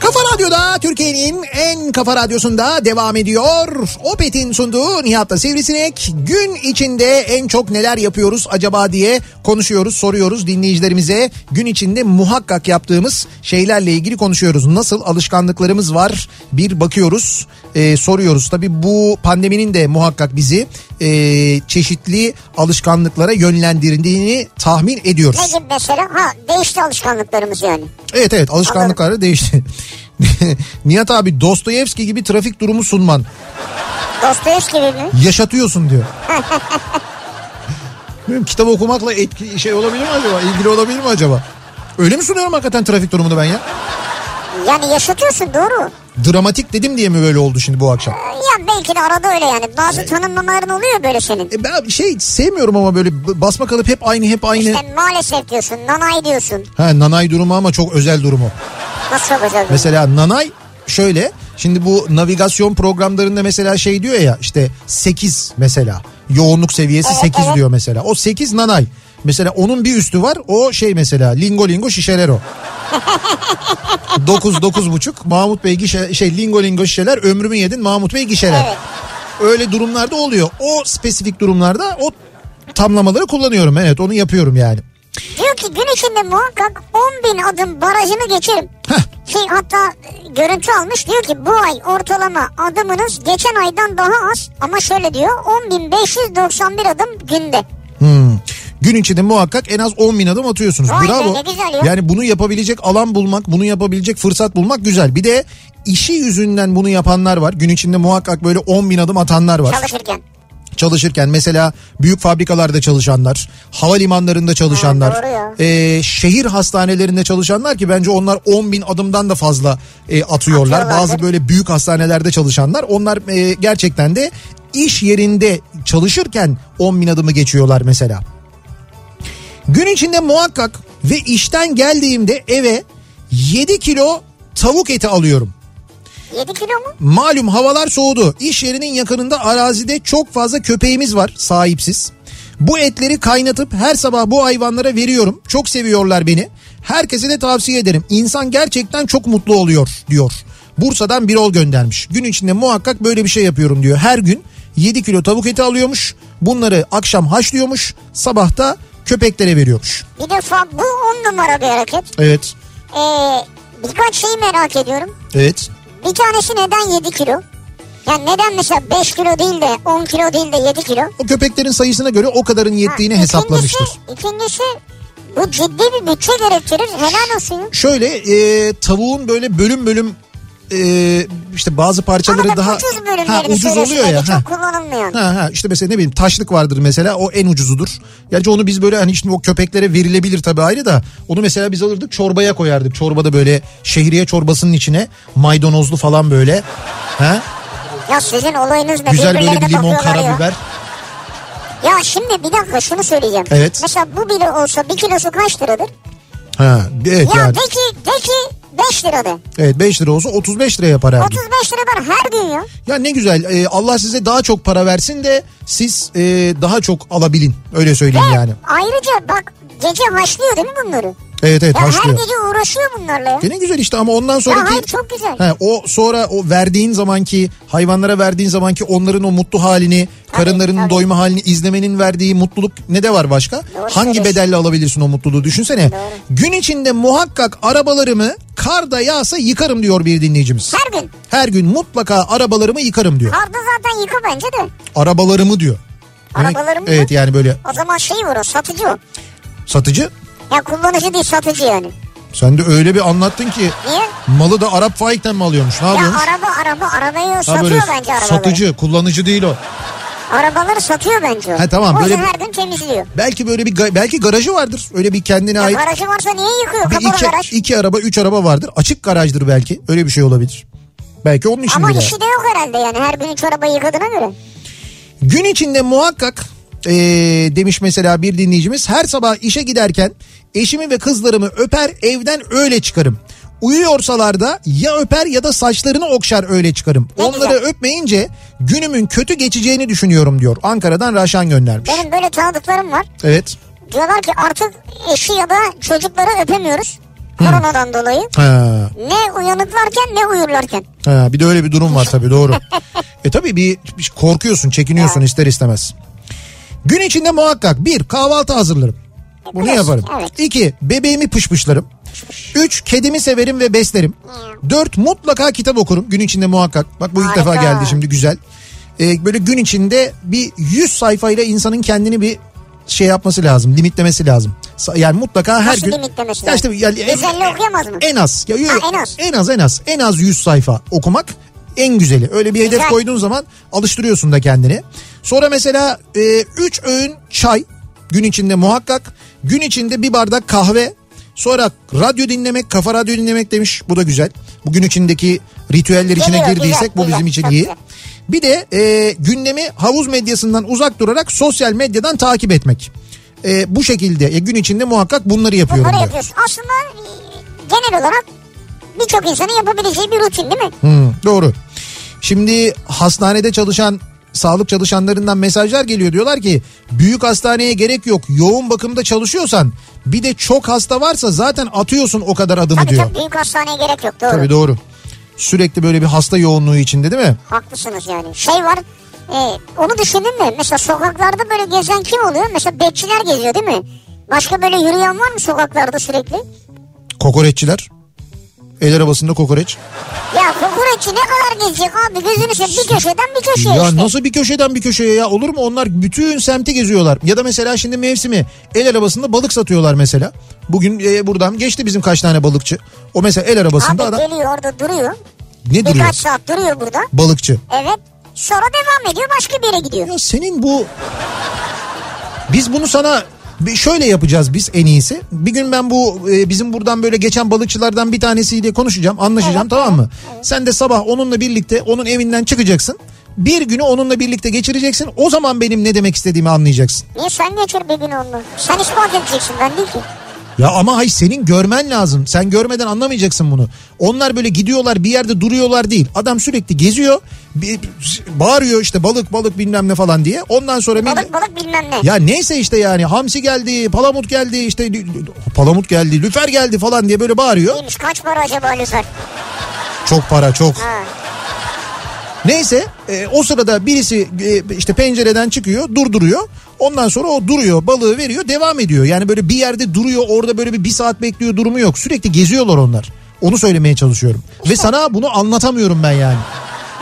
Speaker 2: Kafa Radyo'da Türkiye'nin en kafa radyosunda devam ediyor. Opet'in sunduğu Nihat'la Sivrisinek gün içinde en çok neler yapıyoruz acaba diye konuşuyoruz, soruyoruz dinleyicilerimize. Gün içinde muhakkak yaptığımız şeylerle ilgili konuşuyoruz. Nasıl alışkanlıklarımız var bir bakıyoruz, e, soruyoruz. Tabii bu pandeminin de muhakkak bizi e, çeşitli alışkanlıklara yönlendirdiğini tahmin ediyoruz.
Speaker 1: Ne gibi mesela? Ha değişti alışkanlıklarımız yani.
Speaker 2: Evet evet alışkanlıkları değişti. Nihat abi Dostoyevski gibi trafik durumu sunman.
Speaker 1: Dostoyevski gibi mi?
Speaker 2: Yaşatıyorsun diyor. Bilmiyorum, kitap okumakla etki şey olabilir mi acaba? İlgili olabilir mi acaba? Öyle mi sunuyorum hakikaten trafik durumunu ben ya?
Speaker 1: Yani yaşatıyorsun doğru.
Speaker 2: Dramatik dedim diye mi böyle oldu şimdi bu akşam?
Speaker 1: Ya belki de arada öyle yani. Bazı tanımlamaların oluyor böyle senin.
Speaker 2: E ben şey sevmiyorum ama böyle b- basma kalıp hep aynı hep aynı.
Speaker 1: İşte maalesef diyorsun, nanay diyorsun.
Speaker 2: Ha nanay durumu ama çok özel durumu.
Speaker 1: Nasıl çok özel bir-
Speaker 2: Mesela Nanay şöyle şimdi bu navigasyon programlarında mesela şey diyor ya işte 8 mesela yoğunluk seviyesi
Speaker 1: Evet,
Speaker 2: 8
Speaker 1: evet.
Speaker 2: diyor mesela. O 8 Nanay. Mesela onun bir üstü var o şey mesela lingo lingo şişelero. 9 dokuz buçuk Mahmut Bey gişe, şey lingo lingo şişeler ömrümü yedin Mahmut Bey gişeler.
Speaker 1: Evet.
Speaker 2: Öyle durumlarda oluyor. O spesifik durumlarda o tamlamaları kullanıyorum. Evet onu yapıyorum yani.
Speaker 1: Diyor ki gün içinde muhakkak 10 bin adım barajını geçerim.
Speaker 2: Heh.
Speaker 1: Ki hatta e, görüntü almış diyor ki bu ay ortalama adımınız geçen aydan daha az ama şöyle diyor 10.591 adım günde.
Speaker 2: Hmm. Gün içinde muhakkak en az 10 bin adım atıyorsunuz.
Speaker 1: Vay be,
Speaker 2: Bravo.
Speaker 1: ne güzel ya.
Speaker 2: Yani bunu yapabilecek alan bulmak, bunu yapabilecek fırsat bulmak güzel. Bir de işi yüzünden bunu yapanlar var. Gün içinde muhakkak böyle 10 bin adım atanlar var.
Speaker 1: Çalışırken.
Speaker 2: Çalışırken mesela büyük fabrikalarda çalışanlar, havalimanlarında çalışanlar,
Speaker 1: Ha, doğru ya.
Speaker 2: e, şehir hastanelerinde çalışanlar ki bence onlar 10 bin adımdan da fazla e, atıyorlar.
Speaker 1: Atıyorlardır.
Speaker 2: Bazı böyle büyük hastanelerde çalışanlar onlar e, gerçekten de iş yerinde çalışırken 10 bin adımı geçiyorlar mesela. Gün içinde muhakkak ve işten geldiğimde eve 7 kilo tavuk eti alıyorum.
Speaker 1: 7 kilo mu?
Speaker 2: Malum havalar soğudu. İş yerinin yakınında arazide çok fazla köpeğimiz var sahipsiz. Bu etleri kaynatıp her sabah bu hayvanlara veriyorum. Çok seviyorlar beni. Herkese de tavsiye ederim. İnsan gerçekten çok mutlu oluyor diyor. Bursa'dan Birol göndermiş. Gün içinde muhakkak böyle bir şey yapıyorum diyor. Her gün 7 kilo tavuk eti alıyormuş. Bunları akşam haşlıyormuş. Sabah da köpeklere veriyormuş.
Speaker 1: Bir defa bu 10 numara bir hareket.
Speaker 2: Evet.
Speaker 1: Ee, birkaç şeyi merak ediyorum.
Speaker 2: Evet.
Speaker 1: Bir tanesi neden 7 kilo? Yani neden mesela 5 kilo değil de 10 kilo değil de 7 kilo?
Speaker 2: O köpeklerin sayısına göre o kadarın yettiğini
Speaker 1: Ha,
Speaker 2: hesaplamıştır.
Speaker 1: ikincisi- İkincisi bu ciddi bir bütçe gerektirir. Helal olsun. ya.
Speaker 2: Şöyle e, tavuğun böyle bölüm bölüm e, işte bazı parçaları
Speaker 1: Ama
Speaker 2: daha
Speaker 1: daha ucuz bölümlerini
Speaker 2: ha, ucuz
Speaker 1: söylüyorsun,
Speaker 2: oluyor
Speaker 1: öyle
Speaker 2: ya. Ha.
Speaker 1: Çok kullanılmıyor.
Speaker 2: Ha, ha, işte mesela ne bileyim taşlık vardır mesela o en ucuzudur. Gerçi onu biz böyle hani şimdi o köpeklere verilebilir tabii ayrı da onu mesela biz alırdık çorbaya koyardık. Çorbada böyle şehriye çorbasının içine maydanozlu falan böyle. Ha?
Speaker 1: Ya sizin olayınız ne?
Speaker 2: Güzel böyle
Speaker 1: Birbirlerine
Speaker 2: bir limon
Speaker 1: bakıyorlar ya.
Speaker 2: karabiber.
Speaker 1: Ya şimdi bir dakika şunu söyleyeceğim.
Speaker 2: Evet.
Speaker 1: Mesela bu bile olsa bir kilosu kaç liradır?
Speaker 2: Ha, evet
Speaker 1: Ya
Speaker 2: yani.
Speaker 1: de ki de ki 5 liradı.
Speaker 2: Evet 5 lira olsa 35 lira yapar her gün.
Speaker 1: 35 lira var her gün ya.
Speaker 2: Ya ne güzel e, Allah size daha çok para versin de siz e, daha çok alabilin öyle söyleyeyim yani.
Speaker 1: Ayrıca bak gece haşlıyor değil mi bunları?
Speaker 2: Evet evet
Speaker 1: Ya
Speaker 2: başlıyor.
Speaker 1: her gece uğraşıyor bunlarla ya.
Speaker 2: E ne güzel işte ama ondan sonraki...
Speaker 1: Ya hayır çok güzel.
Speaker 2: He, o sonra o verdiğin zamanki hayvanlara verdiğin zamanki onların o mutlu halini, karınlarının
Speaker 1: tabii.
Speaker 2: doyma halini izlemenin verdiği mutluluk ne de var başka? Hangi
Speaker 1: söylüyorsun.
Speaker 2: bedelle alabilirsin o mutluluğu düşünsene. Gün içinde muhakkak arabalarımı kar da yağsa yıkarım diyor bir dinleyicimiz.
Speaker 1: Her gün.
Speaker 2: Her gün mutlaka arabalarımı yıkarım diyor.
Speaker 1: Arda zaten yıka bence de.
Speaker 2: Arabalarımı diyor. Demek-
Speaker 1: Arabalarımı
Speaker 2: Evet yani böyle
Speaker 1: O zaman şey var o satıcı o.
Speaker 2: satıcı.
Speaker 1: Ya kullanıcı değil satıcı yani.
Speaker 2: Sen de öyle bir anlattın ki
Speaker 1: Niye?
Speaker 2: malı da Arap Faik'ten mi alıyormuş? Ne
Speaker 1: Ya
Speaker 2: yapıyormuş?
Speaker 1: araba araba arabayı
Speaker 2: Ha
Speaker 1: satıyor
Speaker 2: böyle
Speaker 1: bence arabaları.
Speaker 2: satıcı, kullanıcı değil o.
Speaker 1: Arabaları satıyor bence o.
Speaker 2: Ha, tamam,
Speaker 1: O
Speaker 2: böyle-
Speaker 1: yüzden her gün temizliyor.
Speaker 2: Belki böyle bir ga- belki garajı vardır. Öyle bir kendine
Speaker 1: Ya
Speaker 2: ait
Speaker 1: garajı varsa niye yıkıyor?
Speaker 2: bir
Speaker 1: Kapalı garaj.
Speaker 2: iki, iki araba, üç araba vardır. Açık garajdır belki. Öyle bir şey olabilir. Belki onun için
Speaker 1: Ama hani
Speaker 2: bile.
Speaker 1: işi de yok herhalde yani her gün üç arabayı yıkadığına göre.
Speaker 2: Gün içinde muhakkak eee, demiş mesela bir dinleyicimiz her sabah işe giderken eşimi ve kızlarımı öper evden öyle çıkarım. Uyuyorsalar da ya öper ya da saçlarını okşar öyle çıkarım.
Speaker 1: Ne
Speaker 2: Onları
Speaker 1: güzel.
Speaker 2: öpmeyince günümün kötü geçeceğini düşünüyorum diyor. Ankara'dan Raşan göndermiş.
Speaker 1: Benim böyle tanıdıklarım var.
Speaker 2: Evet.
Speaker 1: Diyorlar ki artık eşi ya da çocukları öpemiyoruz. Koronadan dolayı.
Speaker 2: Ha,
Speaker 1: Ne uyanıklarken ne uyurlarken.
Speaker 2: ha, bir de öyle bir durum var tabii doğru. e tabii bir, bir korkuyorsun, çekiniyorsun ister istemez. Gün içinde muhakkak bir kahvaltı hazırlarım. Bunu
Speaker 1: Klasik,
Speaker 2: yaparım.
Speaker 1: evet.
Speaker 2: İki bebeğimi pışpışlarım. Üç kedimi severim ve beslerim. Dört mutlaka kitap okurum gün içinde muhakkak. Bak bu ilk
Speaker 1: Harika.
Speaker 2: defa geldi şimdi güzel. Ee, böyle gün içinde bir 100 sayfayla insanın kendini bir şey yapması lazım, limitlemesi lazım. Sa- Yani mutlaka her
Speaker 1: Nasıl
Speaker 2: gün.
Speaker 1: limitlemesi
Speaker 2: Ya işte yani en-
Speaker 1: 150 okuyamaz mı?
Speaker 2: En az. Ya,
Speaker 1: Ha, en az.
Speaker 2: en az en az en az 100 sayfa okumak en güzeli. Öyle bir hedef
Speaker 1: Güzel.
Speaker 2: koyduğun zaman alıştırıyorsun da kendini. Sonra mesela 3 öğün çay gün içinde muhakkak. Gün içinde bir bardak kahve. Sonra radyo dinlemek, kafa radyo dinlemek demiş. Bu da güzel. Bugün içindeki ritüeller içine
Speaker 1: Geliyor,
Speaker 2: girdiysek
Speaker 1: güzel,
Speaker 2: bu
Speaker 1: güzel,
Speaker 2: bizim için
Speaker 1: çok
Speaker 2: iyi.
Speaker 1: güzel.
Speaker 2: Bir de e, gündemi havuz medyasından uzak durarak sosyal medyadan takip etmek. E, bu şekilde e, gün içinde muhakkak bunları yapıyorum.
Speaker 1: Bunları
Speaker 2: diyor.
Speaker 1: yapıyorsun. Aslında e, genel olarak birçok insanın yapabileceği bir rutin değil mi?
Speaker 2: Hmm, doğru. Şimdi hastanede çalışan sağlık çalışanlarından mesajlar geliyor. Diyorlar ki büyük hastaneye gerek yok. Yoğun bakımda çalışıyorsan bir de çok hasta varsa zaten atıyorsun o kadar adımı
Speaker 1: Tabii
Speaker 2: diyor.
Speaker 1: tabii büyük hastaneye gerek yok doğru.
Speaker 2: Tabii doğru. Sürekli böyle bir hasta yoğunluğu içinde değil mi?
Speaker 1: Haklısınız yani. Şey var e, onu düşündün mü? Mesela sokaklarda böyle gezen kim oluyor? Mesela bekçiler geziyor değil mi? Başka böyle yürüyen var mı sokaklarda sürekli?
Speaker 2: Kokoreççiler. El arabasında kokoreç.
Speaker 1: Ya kokoreççi ne kadar gezecek abi gözünü seveyim bir köşeden bir köşeye
Speaker 2: ya
Speaker 1: işte.
Speaker 2: nasıl bir köşeden bir köşeye ya olur mu? Onlar bütün semti geziyorlar. Ya da mesela şimdi mevsimi el arabasında balık satıyorlar mesela. Bugün e, buradan geçti bizim kaç tane balıkçı. O mesela el
Speaker 1: Abi
Speaker 2: arabasında adam
Speaker 1: geliyor orada duruyor.
Speaker 2: ne duruyor?
Speaker 1: Birkaç saat duruyor burada.
Speaker 2: balıkçı.
Speaker 1: Evet. Sonra devam ediyor başka bir yere gidiyor.
Speaker 2: Ya senin bu biz bunu sana bir şöyle yapacağız biz en iyisi. Bir gün ben bu e, bizim buradan böyle geçen balıkçılardan bir tanesiyle konuşacağım, anlaşacağım tamam mı? Sen de sabah onunla birlikte onun evinden çıkacaksın. Bir günü onunla birlikte geçireceksin. O zaman benim ne demek istediğimi anlayacaksın.
Speaker 1: Niye sen geçir bir gün onu? Sen ispat edeceksin ben değil ki.
Speaker 2: Ya ama hay senin görmen lazım. Sen görmeden anlamayacaksın bunu. Onlar böyle gidiyorlar bir yerde duruyorlar değil. Adam sürekli geziyor. bir- bağırıyor işte balık balık bilmem ne falan diye. Ondan sonra millet-
Speaker 1: Balık balık bilmem ne.
Speaker 2: Ya neyse işte yani hamsi geldi, palamut geldi, işte lü- palamut geldi, lüfer geldi falan diye böyle bağırıyor.
Speaker 1: Neymiş kaç para acaba Lüfer?
Speaker 2: Çok para çok.
Speaker 1: Ha.
Speaker 2: Neyse e, o sırada birisi e, işte pencereden çıkıyor, durduruyor. Ondan sonra o duruyor, balığı veriyor, devam ediyor. Yani böyle bir yerde duruyor, orada böyle bir, bir saat bekliyor durumu yok. Sürekli geziyorlar onlar. Onu söylemeye çalışıyorum. Ve sana bunu anlatamıyorum ben yani.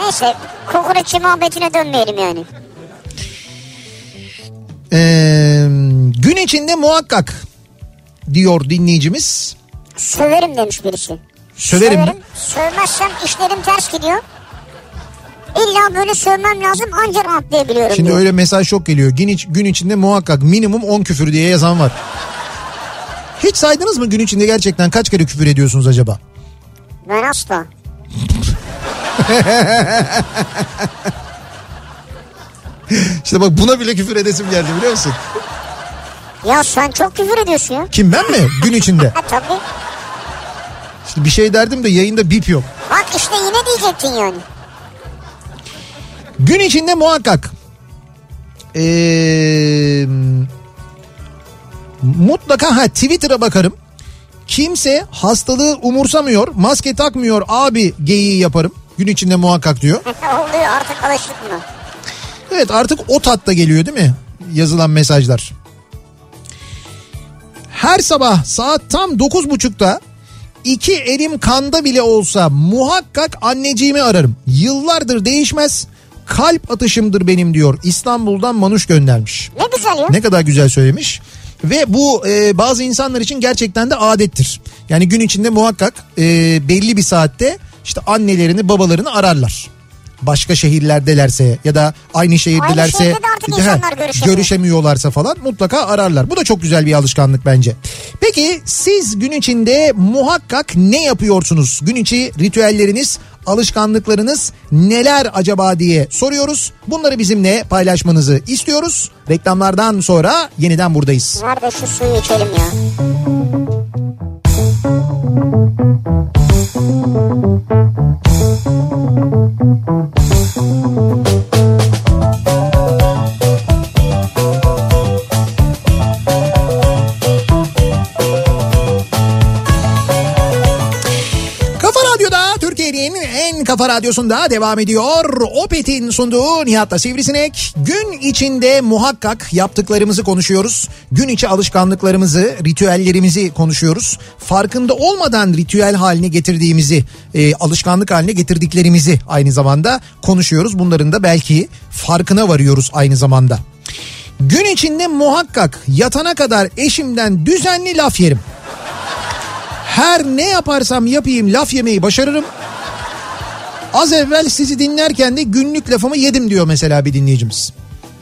Speaker 1: Neyse kokoreççi muhabbetine dönmeyelim yani.
Speaker 2: Ee, gün içinde muhakkak diyor dinleyicimiz.
Speaker 1: Söverim demiş birisi.
Speaker 2: Söverim mi?
Speaker 1: Sövmezsem işlerim ters gidiyor. İlla böyle sövmem lazım ancak rahatlayabiliyorum
Speaker 2: Şimdi
Speaker 1: diyor.
Speaker 2: öyle mesaj çok geliyor. Gün, iç- gün içinde muhakkak minimum 10 küfür diye yazan var. Hiç saydınız mı gün içinde gerçekten kaç kere küfür ediyorsunuz acaba?
Speaker 1: Ben asla.
Speaker 2: İşte bak buna bile küfür edesim geldi biliyor musun?
Speaker 1: Ya sen çok küfür ediyorsun ya.
Speaker 2: Kim ben mi? Gün içinde.
Speaker 1: Ha tabii.
Speaker 2: Şimdi bir şey derdim de yayında bip yok.
Speaker 1: Bak işte yine diyecektin yani.
Speaker 2: Gün içinde muhakkak ee, mutlaka ha Twitter'a bakarım. Kimse hastalığı umursamıyor, maske takmıyor abi geyiği yaparım. Gün içinde muhakkak diyor.
Speaker 1: Oluyor artık alıştık mı?
Speaker 2: Evet artık o tatta geliyor değil mi? Yazılan mesajlar. Her sabah saat tam 9.30'da iki elim kanda bile olsa muhakkak anneciğimi ararım. Yıllardır değişmez kalp atışımdır benim diyor. İstanbul'dan Manuş göndermiş.
Speaker 1: Ne güzel ya.
Speaker 2: Ne kadar güzel söylemiş. Ve bu e, bazı insanlar için gerçekten de adettir. Yani gün içinde muhakkak e, belli bir saatte işte annelerini babalarını ararlar. Başka şehirlerdelerse ya da aynı şehirdelerse
Speaker 1: şehirde de artık
Speaker 2: He,
Speaker 1: insanlar görüşemiyor.
Speaker 2: görüşemiyorlarsa falan mutlaka ararlar. Bu da çok güzel bir alışkanlık bence. Peki siz gün içinde muhakkak ne yapıyorsunuz? Gün içi ritüelleriniz, alışkanlıklarınız neler acaba diye soruyoruz. Bunları bizimle paylaşmanızı istiyoruz. Reklamlardan sonra yeniden buradayız.
Speaker 1: Var da şu suyu içelim ya.
Speaker 2: Kafa Radyo'da Türkiye'nin en kafa radyosunda devam ediyor. Opet'in sunduğu Nihat'la Sivrisinek. Gün içinde muhakkak yaptıklarımızı konuşuyoruz. Gün içi alışkanlıklarımızı, ritüellerimizi konuşuyoruz. Farkında olmadan ritüel haline getirdiğimizi, e, alışkanlık haline getirdiklerimizi aynı zamanda konuşuyoruz. Bunların da belki farkına varıyoruz aynı zamanda. Gün içinde muhakkak yatana kadar eşimden düzenli laf yerim. Her ne yaparsam yapayım laf yemeyi başarırım. Az evvel sizi dinlerken de günlük lafımı yedim diyor mesela bir dinleyicimiz.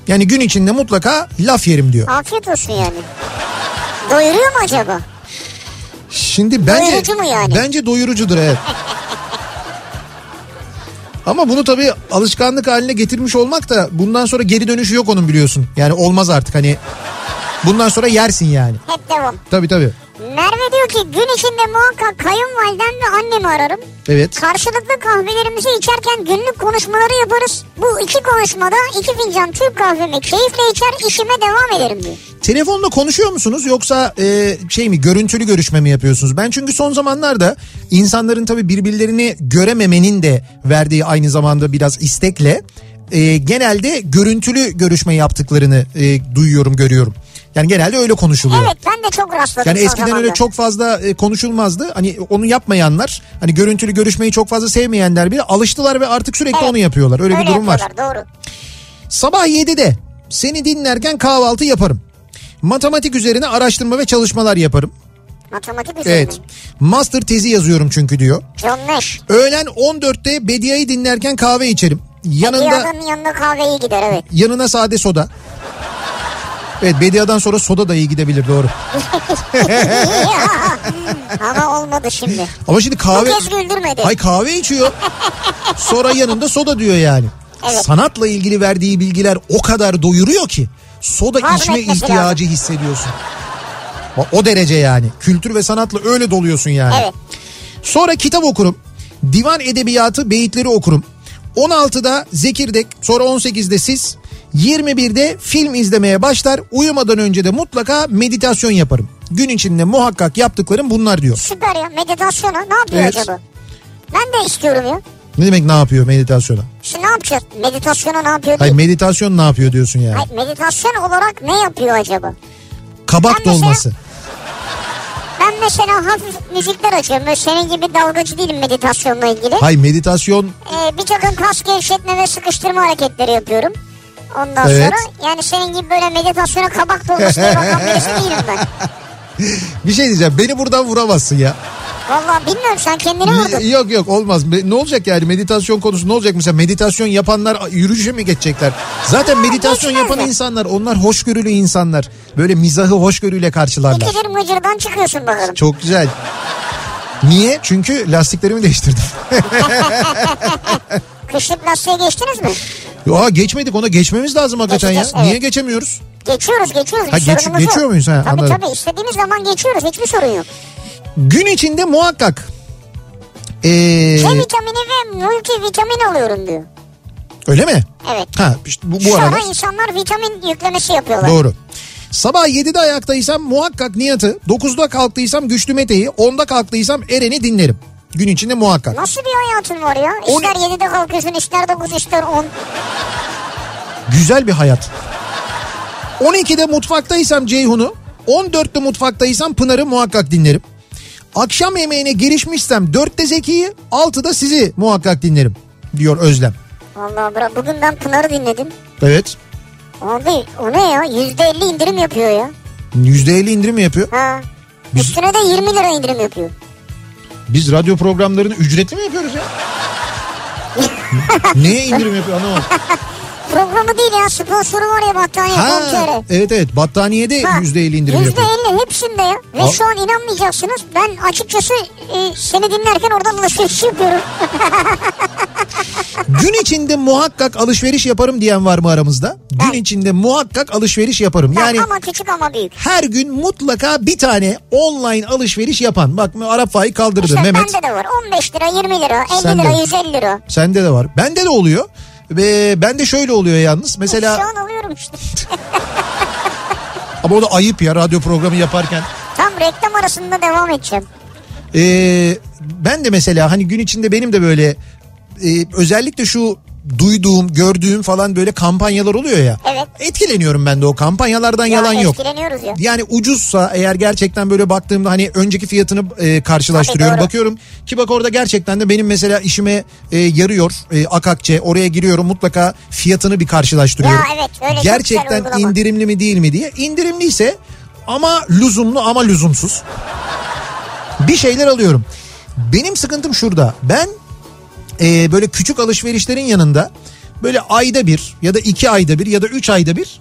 Speaker 2: Yani gün içinde mutlaka laf yerim diyor.
Speaker 1: Afiyet olsun yani. Doyuruyor mu acaba?
Speaker 2: Şimdi bence
Speaker 1: Doyurucu mu yani?
Speaker 2: bence doyurucudur evet. Ama bunu tabii alışkanlık haline getirmiş olmak da bundan sonra geri dönüşü yok onun biliyorsun. Yani olmaz artık hani bundan sonra yersin yani.
Speaker 1: Hep devam.
Speaker 2: Tabii tabii.
Speaker 1: Merve diyor ki gün içinde muhakkak kayınvalidem ve annemi ararım.
Speaker 2: Evet.
Speaker 1: Karşılıklı kahvelerimizi içerken günlük konuşmaları yaparız. Bu iki konuşmada iki fincan Türk kahvemi keyifle içer işime devam ederim diyor.
Speaker 2: Telefonla konuşuyor musunuz yoksa e, şey mi görüntülü görüşme mi yapıyorsunuz? Ben çünkü son zamanlarda insanların tabii birbirlerini görememenin de verdiği aynı zamanda biraz istekle e, genelde görüntülü görüşme yaptıklarını e, duyuyorum görüyorum. Yani genelde öyle konuşuluyor.
Speaker 1: Evet ben de çok rastladım
Speaker 2: Yani
Speaker 1: son
Speaker 2: eskiden öyle
Speaker 1: zamanda.
Speaker 2: çok fazla e, konuşulmazdı. Hani onu yapmayanlar, hani görüntülü görüşmeyi çok fazla sevmeyenler bile alıştılar ve artık sürekli
Speaker 1: Evet.
Speaker 2: onu yapıyorlar. Öyle, bir durum var.
Speaker 1: yapıyorlar, Doğru.
Speaker 2: Sabah 7'de seni dinlerken kahvaltı yaparım. Matematik üzerine araştırma ve çalışmalar yaparım.
Speaker 1: Matematik üzerine.
Speaker 2: Evet. Master tezi yazıyorum çünkü diyor.
Speaker 1: John Nash.
Speaker 2: Öğlen 14'te Bedia'yı dinlerken kahve içerim.
Speaker 1: Bir
Speaker 2: Yanında
Speaker 1: adamın yanına kahve iyi gider evet.
Speaker 2: yanına sade soda. Evet Bedia'dan sonra soda da iyi gidebilir doğru.
Speaker 1: Ama olmadı şimdi.
Speaker 2: Ama şimdi
Speaker 1: Bu
Speaker 2: kahve
Speaker 1: kez güldürmedi.
Speaker 2: Hay kahve içiyor. Sonra yanında soda diyor yani.
Speaker 1: Evet.
Speaker 2: Sanatla ilgili verdiği bilgiler o kadar doyuruyor ki soda
Speaker 1: Hazmetmesi
Speaker 2: içme
Speaker 1: lazım.
Speaker 2: ihtiyacı hissediyorsun. Bak, O derece yani. Kültür ve sanatla öyle doluyorsun yani.
Speaker 1: Evet.
Speaker 2: Sonra kitap okurum. Divan edebiyatı beyitleri okurum. 16'da Zekirdek, sonra 18'de siz, 21'de film izlemeye başlar. Uyumadan önce de mutlaka meditasyon yaparım. Gün içinde muhakkak yaptıklarım bunlar diyor.
Speaker 1: Süper ya meditasyona ne yapıyor
Speaker 2: Evet.
Speaker 1: acaba? Ben de istiyorum ya.
Speaker 2: Ne demek ne yapıyor meditasyona?
Speaker 1: Şimdi ne yapacağız? Meditasyona ne yapıyor
Speaker 2: Hayır
Speaker 1: değil.
Speaker 2: meditasyon ne yapıyor diyorsun yani?
Speaker 1: Hayır, meditasyon olarak ne yapıyor acaba?
Speaker 2: Kabak
Speaker 1: Ben mesela-
Speaker 2: dolması.
Speaker 1: Ben mesela hafif müzikler açıyorum. Böyle senin gibi dalgacı değilim meditasyonla ilgili.
Speaker 2: Hayır meditasyon
Speaker 1: Ee, bir takım kas gevşetme ve sıkıştırma hareketleri yapıyorum. Ondan
Speaker 2: Evet.
Speaker 1: sonra yani senin gibi böyle meditasyona kabak dolmasına bakan birisi değilim ben.
Speaker 2: bir şey diyeceğim beni buradan vuramazsın ya.
Speaker 1: Vallahi bilmiyorum sen kendini vurdun.
Speaker 2: Yok yok olmaz. Be- Ne olacak yani meditasyon konusu ne olacak mesela meditasyon yapanlar yürüyüşe mi geçecekler? Zaten meditasyon
Speaker 1: geçmez
Speaker 2: yapan
Speaker 1: de.
Speaker 2: insanlar onlar hoşgörülü insanlar. Böyle mizahı hoşgörüyle karşılarlar.
Speaker 1: İkidir mıcırdan çıkıyorsun bakalım.
Speaker 2: Çok güzel. Niye? Çünkü lastiklerimi değiştirdim.
Speaker 1: Kışlık lastiğe geçtiniz mi?
Speaker 2: Aa geçmedik ona geçmemiz lazım hakikaten ya.
Speaker 1: Geçeceğiz, evet.
Speaker 2: Niye geçemiyoruz?
Speaker 1: Geçiyoruz geçiyoruz.
Speaker 2: Ha,
Speaker 1: bir
Speaker 2: geç-
Speaker 1: sorunumuz yok.
Speaker 2: geçiyor muyuz? Ha,
Speaker 1: tabii
Speaker 2: anladım.
Speaker 1: tabii istediğimiz zaman geçiyoruz. Hiçbir sorun yok.
Speaker 2: Gün içinde muhakkak Ee,
Speaker 1: C Şey vitamini ve multivitamin alıyorum diyor.
Speaker 2: öyle mi?
Speaker 1: Evet.
Speaker 2: Ha, işte bu, bu
Speaker 1: Sonra
Speaker 2: aralar.
Speaker 1: insanlar vitamin yüklemesi yapıyorlar.
Speaker 2: Doğru. Sabah 7'de ayaktaysam muhakkak Nihat'ı, 9'da kalktıysam Güçlü Mete'yi, 10'da kalktıysam Eren'i dinlerim. Gün içinde muhakkak.
Speaker 1: Nasıl bir hayatın var ya?
Speaker 2: On-
Speaker 1: İşler 7'de kalkıyorsun, işler 9, işler 10.
Speaker 2: Güzel bir hayat. 12'de mutfaktaysam Ceyhun'u, 14'te mutfaktaysam Pınar'ı muhakkak dinlerim. Akşam yemeğine girişmişsem 4'te Zeki'yi, 6'da sizi muhakkak dinlerim diyor Özlem.
Speaker 1: Vallahi bırak bugün ben Pınar'ı dinledim.
Speaker 2: Evet.
Speaker 1: Abi o ne ya? %50 indirim yapıyor ya.
Speaker 2: %50 indirim yapıyor.
Speaker 1: Ha.
Speaker 2: Biz-
Speaker 1: Üstüne de 20 lira indirim yapıyor.
Speaker 2: Biz radyo programlarını ücretli mi yapıyoruz ya? Neye indirim yapıyor anlamadım.
Speaker 1: Programı değil ya sponsoru var ya battaniye.
Speaker 2: Ha,
Speaker 1: Ha.
Speaker 2: evet evet battaniyede %50 indirim yapıyor.
Speaker 1: %50 hepsinde ya. Ve
Speaker 2: Al.
Speaker 1: şu an inanmayacaksınız ben açıkçası e, seni dinlerken oradan alışveriş yapıyorum.
Speaker 2: Gün içinde muhakkak alışveriş yaparım diyen var mı aramızda? Gün içinde muhakkak alışveriş yaparım. Yani
Speaker 1: ama küçük ama büyük.
Speaker 2: her gün mutlaka bir tane online alışveriş yapan. Bak Arap Faik kaldırdı
Speaker 1: İşte
Speaker 2: Mehmet.
Speaker 1: bende de var 15 lira 20 lira 50
Speaker 2: Sende.
Speaker 1: lira 150 lira.
Speaker 2: Sende de var. Bende de oluyor. Ve ben de şöyle oluyor yalnız.
Speaker 1: Şu
Speaker 2: Mesela
Speaker 1: an alıyorum işte.
Speaker 2: ama o da ayıp ya radyo programı yaparken.
Speaker 1: Tam reklam arasında devam edeceğim.
Speaker 2: Ee, ben de mesela hani gün içinde benim de böyle e, özellikle şu duyduğum, gördüğüm falan böyle kampanyalar oluyor ya.
Speaker 1: Evet.
Speaker 2: Etkileniyorum ben de o kampanyalardan yalan yok.
Speaker 1: Etkileniyoruz ya.
Speaker 2: Yani ucuzsa eğer gerçekten böyle baktığımda hani önceki fiyatını e, karşılaştırıyorum
Speaker 1: Tabii, doğru.
Speaker 2: bakıyorum ki bak orada gerçekten de benim mesela işime e, yarıyor e, Akakçe oraya giriyorum mutlaka fiyatını bir karşılaştırıyorum.
Speaker 1: Ya evet, öyle çok güzel
Speaker 2: gerçekten
Speaker 1: uygulama.
Speaker 2: indirimli mi değil mi diye. İndirimliyse ama lüzumlu ama lüzumsuz. Bir şeyler alıyorum. Benim sıkıntım şurada. Ben e, böyle küçük alışverişlerin yanında böyle ayda bir ya da iki ayda bir ya da üç ayda bir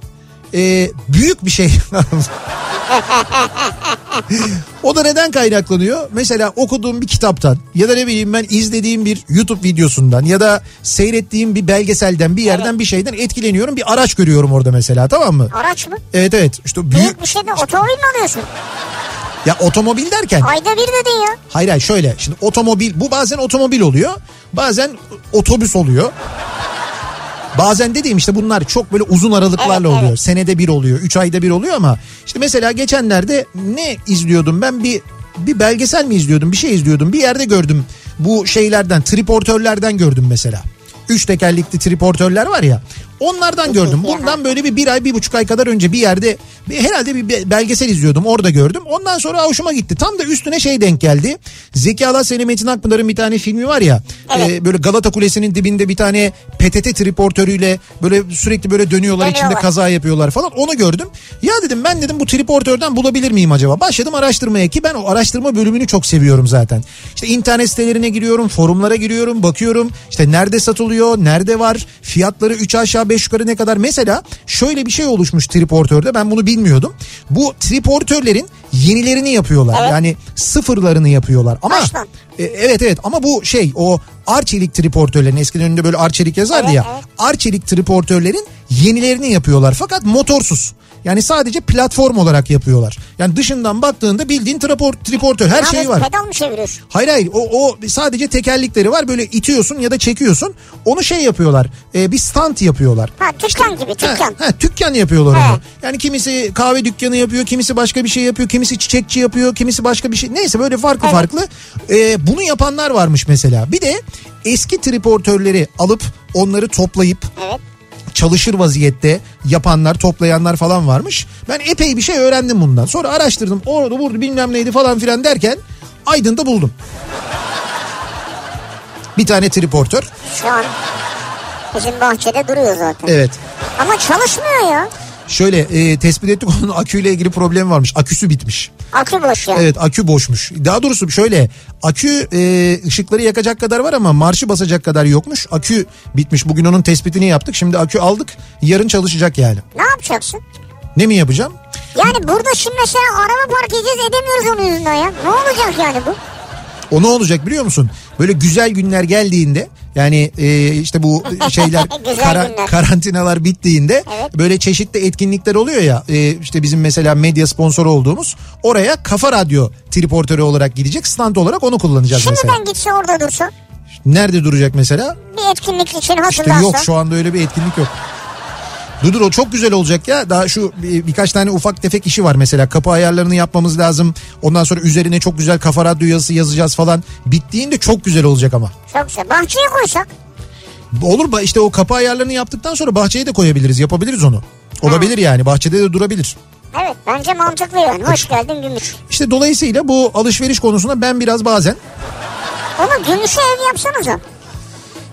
Speaker 2: e, büyük bir şey O da neden kaynaklanıyor? Mesela okuduğum bir kitaptan ya da ne bileyim ben izlediğim bir YouTube videosundan ya da seyrettiğim bir belgeselden bir yerden bir şeyden etkileniyorum. Bir araç görüyorum orada mesela tamam mı?
Speaker 1: Araç mı?
Speaker 2: Evet evet işte büyük
Speaker 1: Büyük bir şey- şeyde otomobil mi alıyorsun?
Speaker 2: ya otomobil derken
Speaker 1: Ayda bir dedin ya.
Speaker 2: hayır hayır şöyle şimdi otomobil bu bazen otomobil oluyor bazen otobüs oluyor. Bazen dediğim işte bunlar çok böyle uzun aralıklarla
Speaker 1: Evet,
Speaker 2: oluyor. Senede bir oluyor, üç ayda bir oluyor ama işte mesela geçenlerde ne izliyordum ben bir bir belgesel mi izliyordum, bir şey izliyordum. Bir yerde gördüm bu şeylerden, triportörlerden gördüm mesela. Üç tekerlekli triportörler var ya. Onlardan gördüm. Bundan böyle bir bir ay, bir buçuk ay kadar önce bir yerde bir- herhalde bir be- belgesel izliyordum. Orada gördüm. Ondan sonra hoşuma gitti. Tam da üstüne şey denk geldi. Zeki Alasya'nın Metin Akpınar'ın bir tane filmi var ya.
Speaker 1: Evet.
Speaker 2: e, böyle Galata Kulesi'nin dibinde bir tane PTT triportörüyle böyle sürekli böyle dönüyorlar içinde
Speaker 1: Dönüyorlar.
Speaker 2: kaza yapıyorlar falan onu gördüm. Ya dedim ben dedim bu triportörden bulabilir miyim acaba? Başladım araştırmaya ki ben o araştırma bölümünü çok seviyorum zaten. İşte internet sitelerine giriyorum, forumlara giriyorum, bakıyorum. İşte nerede satılıyor, nerede var, fiyatları 3 aşağı 5 yukarı ne kadar. Mesela şöyle bir şey oluşmuş triportörde ben bunu bilmiyordum. Bu triportörlerin yenilerini yapıyorlar.
Speaker 1: Evet.
Speaker 2: Yani sıfırlarını yapıyorlar. Ama
Speaker 1: Baştan.
Speaker 2: e, evet evet ama bu şey o arçelik triportörlerin eskiden önünde böyle arçelik yazardı
Speaker 1: Evet,
Speaker 2: ya.
Speaker 1: evet.
Speaker 2: Arçelik triportörlerin yenilerini yapıyorlar fakat motorsuz. Yani sadece platform olarak yapıyorlar. Yani dışından baktığında bildiğin trapor- triportör her
Speaker 1: Ne
Speaker 2: şey
Speaker 1: yapıyorsun,
Speaker 2: var.
Speaker 1: Pedal mı çeviriyorsun?
Speaker 2: Hayır hayır o, o sadece tekerlekleri var böyle itiyorsun ya da çekiyorsun. Onu şey yapıyorlar e, bir stand yapıyorlar.
Speaker 1: Ha dükkan gibi dükkan.
Speaker 2: Ha, ha, dükkan yapıyorlar
Speaker 1: He.
Speaker 2: onu. Yani kimisi kahve dükkanı yapıyor, kimisi başka bir şey yapıyor, kimisi çiçekçi yapıyor, kimisi başka bir şey. Neyse böyle farklı farklı. Ee, bunu yapanlar varmış mesela. Bir de eski triportörleri alıp onları toplayıp
Speaker 1: Evet.
Speaker 2: çalışır vaziyette yapanlar, toplayanlar falan varmış. Ben epey bir şey öğrendim bundan. Sonra araştırdım. Orada burada bilmem neydi falan filan derken Aydın'da buldum. Bir tane triportör.
Speaker 1: Şu an bizim bahçede duruyor zaten.
Speaker 2: Evet.
Speaker 1: Ama çalışmıyor ya.
Speaker 2: Şöyle e, tespit ettik onun aküyle ilgili problemi varmış. Aküsü bitmiş.
Speaker 1: Akü boş ya.
Speaker 2: Evet akü boşmuş. Daha doğrusu şöyle akü e, ışıkları yakacak kadar var ama marşı basacak kadar yokmuş. Akü bitmiş. Bugün onun tespitini yaptık. Şimdi akü aldık. Yarın çalışacak yani.
Speaker 1: Ne yapacaksın?
Speaker 2: Ne mi yapacağım?
Speaker 1: Yani burada şimdi mesela araba park edeceğiz edemiyoruz onun yüzünden ya. Ne olacak yani bu?
Speaker 2: O ne olacak biliyor musun? Böyle güzel günler geldiğinde Yani e, işte bu şeyler
Speaker 1: Güzel
Speaker 2: kara-
Speaker 1: günler.
Speaker 2: karantinalar bittiğinde
Speaker 1: Evet.
Speaker 2: böyle çeşitli etkinlikler oluyor ya. E, işte bizim mesela medya sponsoru olduğumuz oraya Kafa Radyo triportörü olarak gidecek. Stand olarak onu kullanacağız mesela.
Speaker 1: Şimdiden gitse orada dursa
Speaker 2: Nerede duracak mesela?
Speaker 1: bir etkinlik için
Speaker 2: İşte
Speaker 1: hazırlansa.
Speaker 2: yok şu anda öyle bir etkinlik yok. Dur dur o çok güzel olacak ya. Daha şu bir- birkaç tane ufak tefek işi var mesela. Kapı ayarlarını yapmamız lazım. Ondan sonra üzerine çok güzel kafa radyo yazısı yazacağız falan. Bittiğinde çok güzel olacak ama.
Speaker 1: Çok güzel. Bahçeye koysak.
Speaker 2: Olur ba- işte o kapı ayarlarını yaptıktan sonra bahçeye de koyabiliriz. Yapabiliriz onu. Olabilir yani. Bahçede de durabilir.
Speaker 1: Evet bence mantıklı yani. Hoş geldin Gümüş.
Speaker 2: İşte dolayısıyla bu alışveriş konusunda ben biraz bazen
Speaker 1: Onu Gümüş'e ev yapsanıza.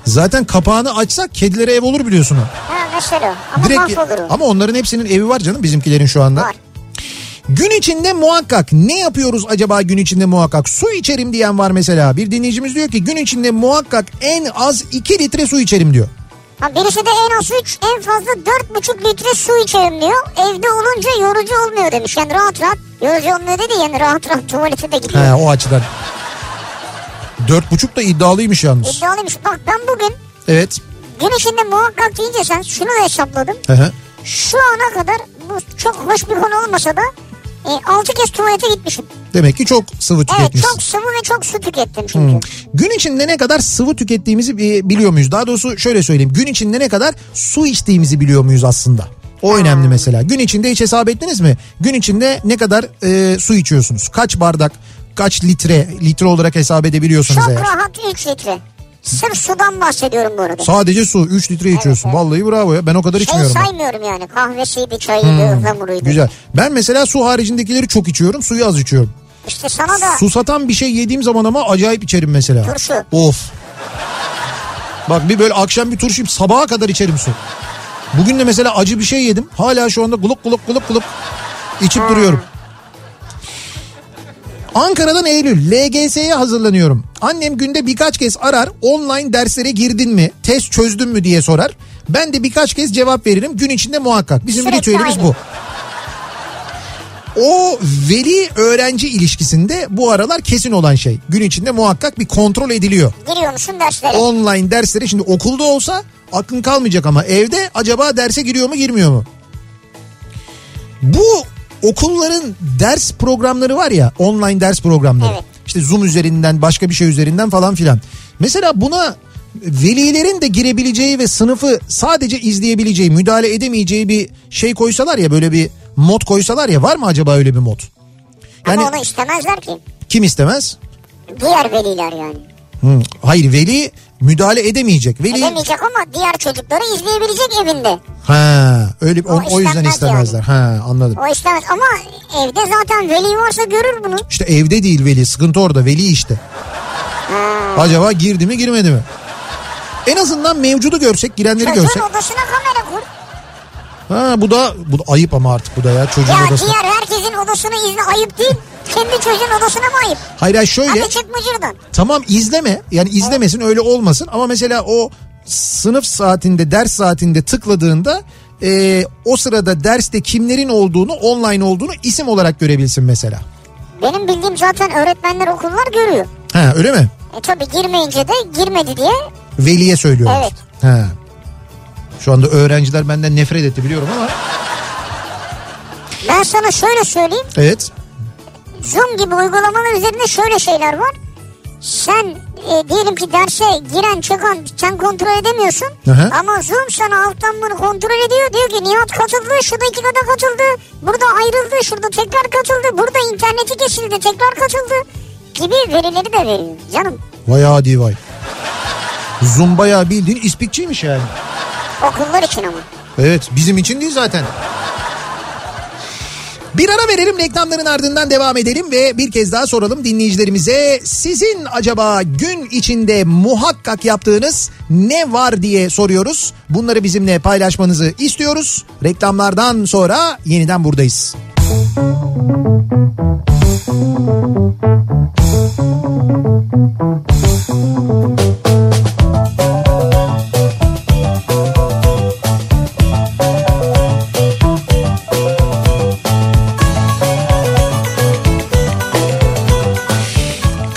Speaker 2: zaten kapağını açsak kedilere ev olur biliyorsun. o.
Speaker 1: Ha mesela. Ama
Speaker 2: Direkt
Speaker 1: mahvolur o.
Speaker 2: ama onların hepsinin evi var canım bizimkilerin şu anda.
Speaker 1: Var.
Speaker 2: Gün içinde muhakkak ne yapıyoruz acaba gün içinde muhakkak? Su içerim diyen var mesela. Bir dinleyicimiz diyor ki gün içinde muhakkak en az 2 litre su içerim diyor.
Speaker 1: Ha, birisi de en az 3 en fazla 4,5 litre su içerim diyor. Evde olunca yorucu olmuyor demiş. Yani rahat rahat yorucu olmuyor dedi yani rahat rahat tuvalete de gidiyor.
Speaker 2: He o açıdan. 4,5 da iddialıymış yalnız.
Speaker 1: İddialıymış. Bak ben bugün
Speaker 2: Evet.
Speaker 1: gün içinde muhakkak deyince sen şunu da hesapladım.
Speaker 2: Hı hı.
Speaker 1: Şu ana kadar bu çok hoş bir konu olmasa da e, 6 kez tuvalete gitmişim.
Speaker 2: Demek ki çok sıvı
Speaker 1: Evet
Speaker 2: tüketmişsin.
Speaker 1: çok sıvı ve çok su tükettim çünkü.
Speaker 2: Hmm. Gün içinde ne kadar sıvı tükettiğimizi bi- biliyor muyuz? Daha doğrusu şöyle söyleyeyim. Gün içinde ne kadar su içtiğimizi biliyor muyuz aslında? O önemli mesela. Gün içinde hiç hesap ettiniz mi? Gün içinde ne kadar e, su içiyorsunuz? Kaç bardak, kaç litre, litre olarak hesap edebiliyorsunuz
Speaker 1: Çok
Speaker 2: eğer?
Speaker 1: rahat 3 litre. Sırf sudan bahsediyorum bu arada.
Speaker 2: Sadece su 3 litre içiyorsun. Vallahi bravo ya. Ben o kadar
Speaker 1: şey
Speaker 2: içmiyorum. ben. Hmm,
Speaker 1: saymıyorum yani kahvesiydi, çayıydı, ıhlamuruydu.
Speaker 2: Güzel. Ben mesela su haricindekileri çok içiyorum. Suyu az içiyorum.
Speaker 1: İşte sana da
Speaker 2: Susatan bir şey yediğim zaman ama acayip içerim mesela.
Speaker 1: Turşu.
Speaker 2: Of. Bak bir böyle akşam bir turşu yiyip sabaha kadar içerim su. Bugün de mesela acı bir şey yedim. Hala şu anda guluk guluk guluk guluk içip duruyorum. Ankara'dan Eylül. LGS'ye hazırlanıyorum. Annem günde birkaç kez arar. Online derslere girdin mi? Test çözdün mü diye sorar. Ben de birkaç kez cevap veririm. Gün içinde muhakkak. Bizim
Speaker 1: Sürekli
Speaker 2: ritüelimiz
Speaker 1: aynı.
Speaker 2: bu. O veli öğrenci ilişkisinde bu aralar kesin olan şey. Gün içinde muhakkak bir kontrol ediliyor.
Speaker 1: giriyor musun derslere?
Speaker 2: Online derslere şimdi okulda olsa aklın kalmayacak ama evde acaba derse giriyor mu girmiyor mu? Bu okulların ders programları var ya online ders programları.
Speaker 1: Evet.
Speaker 2: İşte Zoom üzerinden başka bir şey üzerinden falan filan. Mesela buna velilerin de girebileceği ve sınıfı sadece izleyebileceği müdahale edemeyeceği bir şey koysalar ya böyle bir mod koysalar ya var mı acaba öyle bir mod? Yani
Speaker 1: Ama onu istemezler ki.
Speaker 2: kim istemez?
Speaker 1: Diğer veliler yani.
Speaker 2: Hı, Hayır veli müdahale edemeyecek. Veli
Speaker 1: Edemeyecek ama diğer çocukları izleyebilecek evinde.
Speaker 2: Ha, öyle bir- o,
Speaker 1: O
Speaker 2: o yüzden
Speaker 1: istemez
Speaker 2: istemezler. Ha, anladım.
Speaker 1: O istemez ama evde zaten veli varsa görür bunu.
Speaker 2: İşte evde değil veli, sıkıntı orada. Veli işte. Acaba girdi mi, girmedi mi? En azından mevcudu görsek, girenleri
Speaker 1: Çocuğun
Speaker 2: görsek.
Speaker 1: odasına kamera kur.
Speaker 2: Ha, bu da bu da ayıp ama artık bu da ya çocuğun
Speaker 1: Ya
Speaker 2: odasına.
Speaker 1: diğer herkesin odasını izle ayıp değil. Kendi çocuğun odasına mı ayıp?
Speaker 2: Hayır hayır şöyle.
Speaker 1: Hadi çık mıcırdan.
Speaker 2: Tamam izleme. Yani izlemesin öyle olmasın ama mesela o sınıf saatinde ders saatinde tıkladığında e, o sırada derste kimlerin olduğunu online olduğunu isim olarak görebilsin mesela.
Speaker 1: Benim bildiğim zaten öğretmenler okullar görüyor.
Speaker 2: Ha öyle mi?
Speaker 1: E tabi girmeyince de girmedi diye.
Speaker 2: Veli'ye söylüyorlar.
Speaker 1: Evet.
Speaker 2: He. Şu anda öğrenciler benden nefret etti biliyorum ama.
Speaker 1: Ben sana şöyle söyleyeyim.
Speaker 2: Evet.
Speaker 1: Zoom gibi uygulamalar üzerinde şöyle şeyler var. Sen e, diyelim ki derse giren çıkan sen kontrol edemiyorsun.
Speaker 2: Hı hı.
Speaker 1: Ama Zoom sana alttan bunu kontrol ediyor. Diyor ki Nihat katıldı, şurada iki kata katıldı, burada ayrıldı, şurada tekrar katıldı, burada interneti kesildi, tekrar katıldı gibi verileri de veriyor canım.
Speaker 2: Vay hadi vay. Zoom bayağı bildiğin ispikçiymiş yani.
Speaker 1: Okullar için ama.
Speaker 2: Evet bizim için değil zaten. Bir ara verelim reklamların ardından devam edelim ve bir kez daha soralım dinleyicilerimize sizin acaba gün içinde muhakkak yaptığınız ne var diye soruyoruz. Bunları bizimle paylaşmanızı istiyoruz. Reklamlardan sonra yeniden buradayız.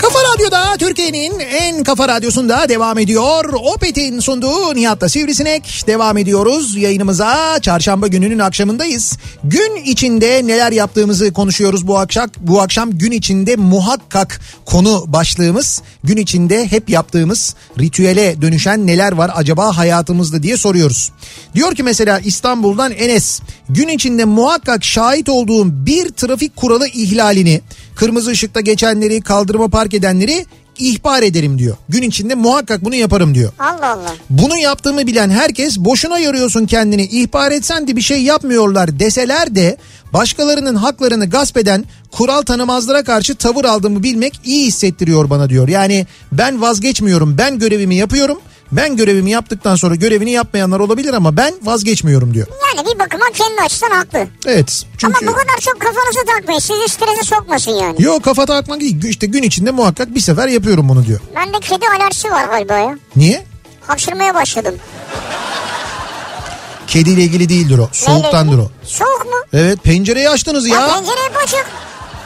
Speaker 2: Kafa Radyo'da Türkiye'nin en Kafa Radyosu'nda devam ediyor. Opet'in sunduğu Nihat'la Sivrisinek devam ediyoruz. Yayınımıza çarşamba gününün akşamındayız. Gün içinde neler yaptığımızı konuşuyoruz bu akşam. Bu akşam gün içinde muhakkak konu başlığımız. Gün içinde hep yaptığımız ritüele dönüşen neler var acaba hayatımızda diye soruyoruz. Diyor ki mesela İstanbul'dan Enes gün içinde muhakkak şahit olduğum bir trafik kuralı ihlalini kırmızı ışıkta geçenleri kaldırıma park edenleri ihbar ederim diyor. Gün içinde muhakkak bunu yaparım diyor.
Speaker 1: Allah Allah.
Speaker 2: Bunu yaptığımı bilen herkes boşuna yoruyorsun kendini ihbar etsen de bir şey yapmıyorlar deseler de başkalarının haklarını gasp eden kural tanımazlara karşı tavır aldığımı bilmek iyi hissettiriyor bana diyor. Yani ben vazgeçmiyorum ben görevimi yapıyorum ben görevimi yaptıktan sonra görevini yapmayanlar olabilir ama ben vazgeçmiyorum diyor.
Speaker 1: Yani bir bakıma kendi açısından haklı.
Speaker 2: Evet
Speaker 1: Ama
Speaker 2: çünkü...
Speaker 1: bu kadar çok kafanızı takmayın. Sizi strese sokmasın yani.
Speaker 2: Yok kafa takmak değil işte gün içinde muhakkak bir sefer yapıyorum bunu diyor.
Speaker 1: Bende kedi alerjisi var galiba ya.
Speaker 2: Niye?
Speaker 1: Hapşırmaya başladım.
Speaker 2: Kediyle ilgili değildir o soğuktandır
Speaker 1: Neyle
Speaker 2: o.
Speaker 1: ilgili? Soğuk mu?
Speaker 2: Evet pencereyi açtınız
Speaker 1: Ya,
Speaker 2: ya.
Speaker 1: pencereye açık.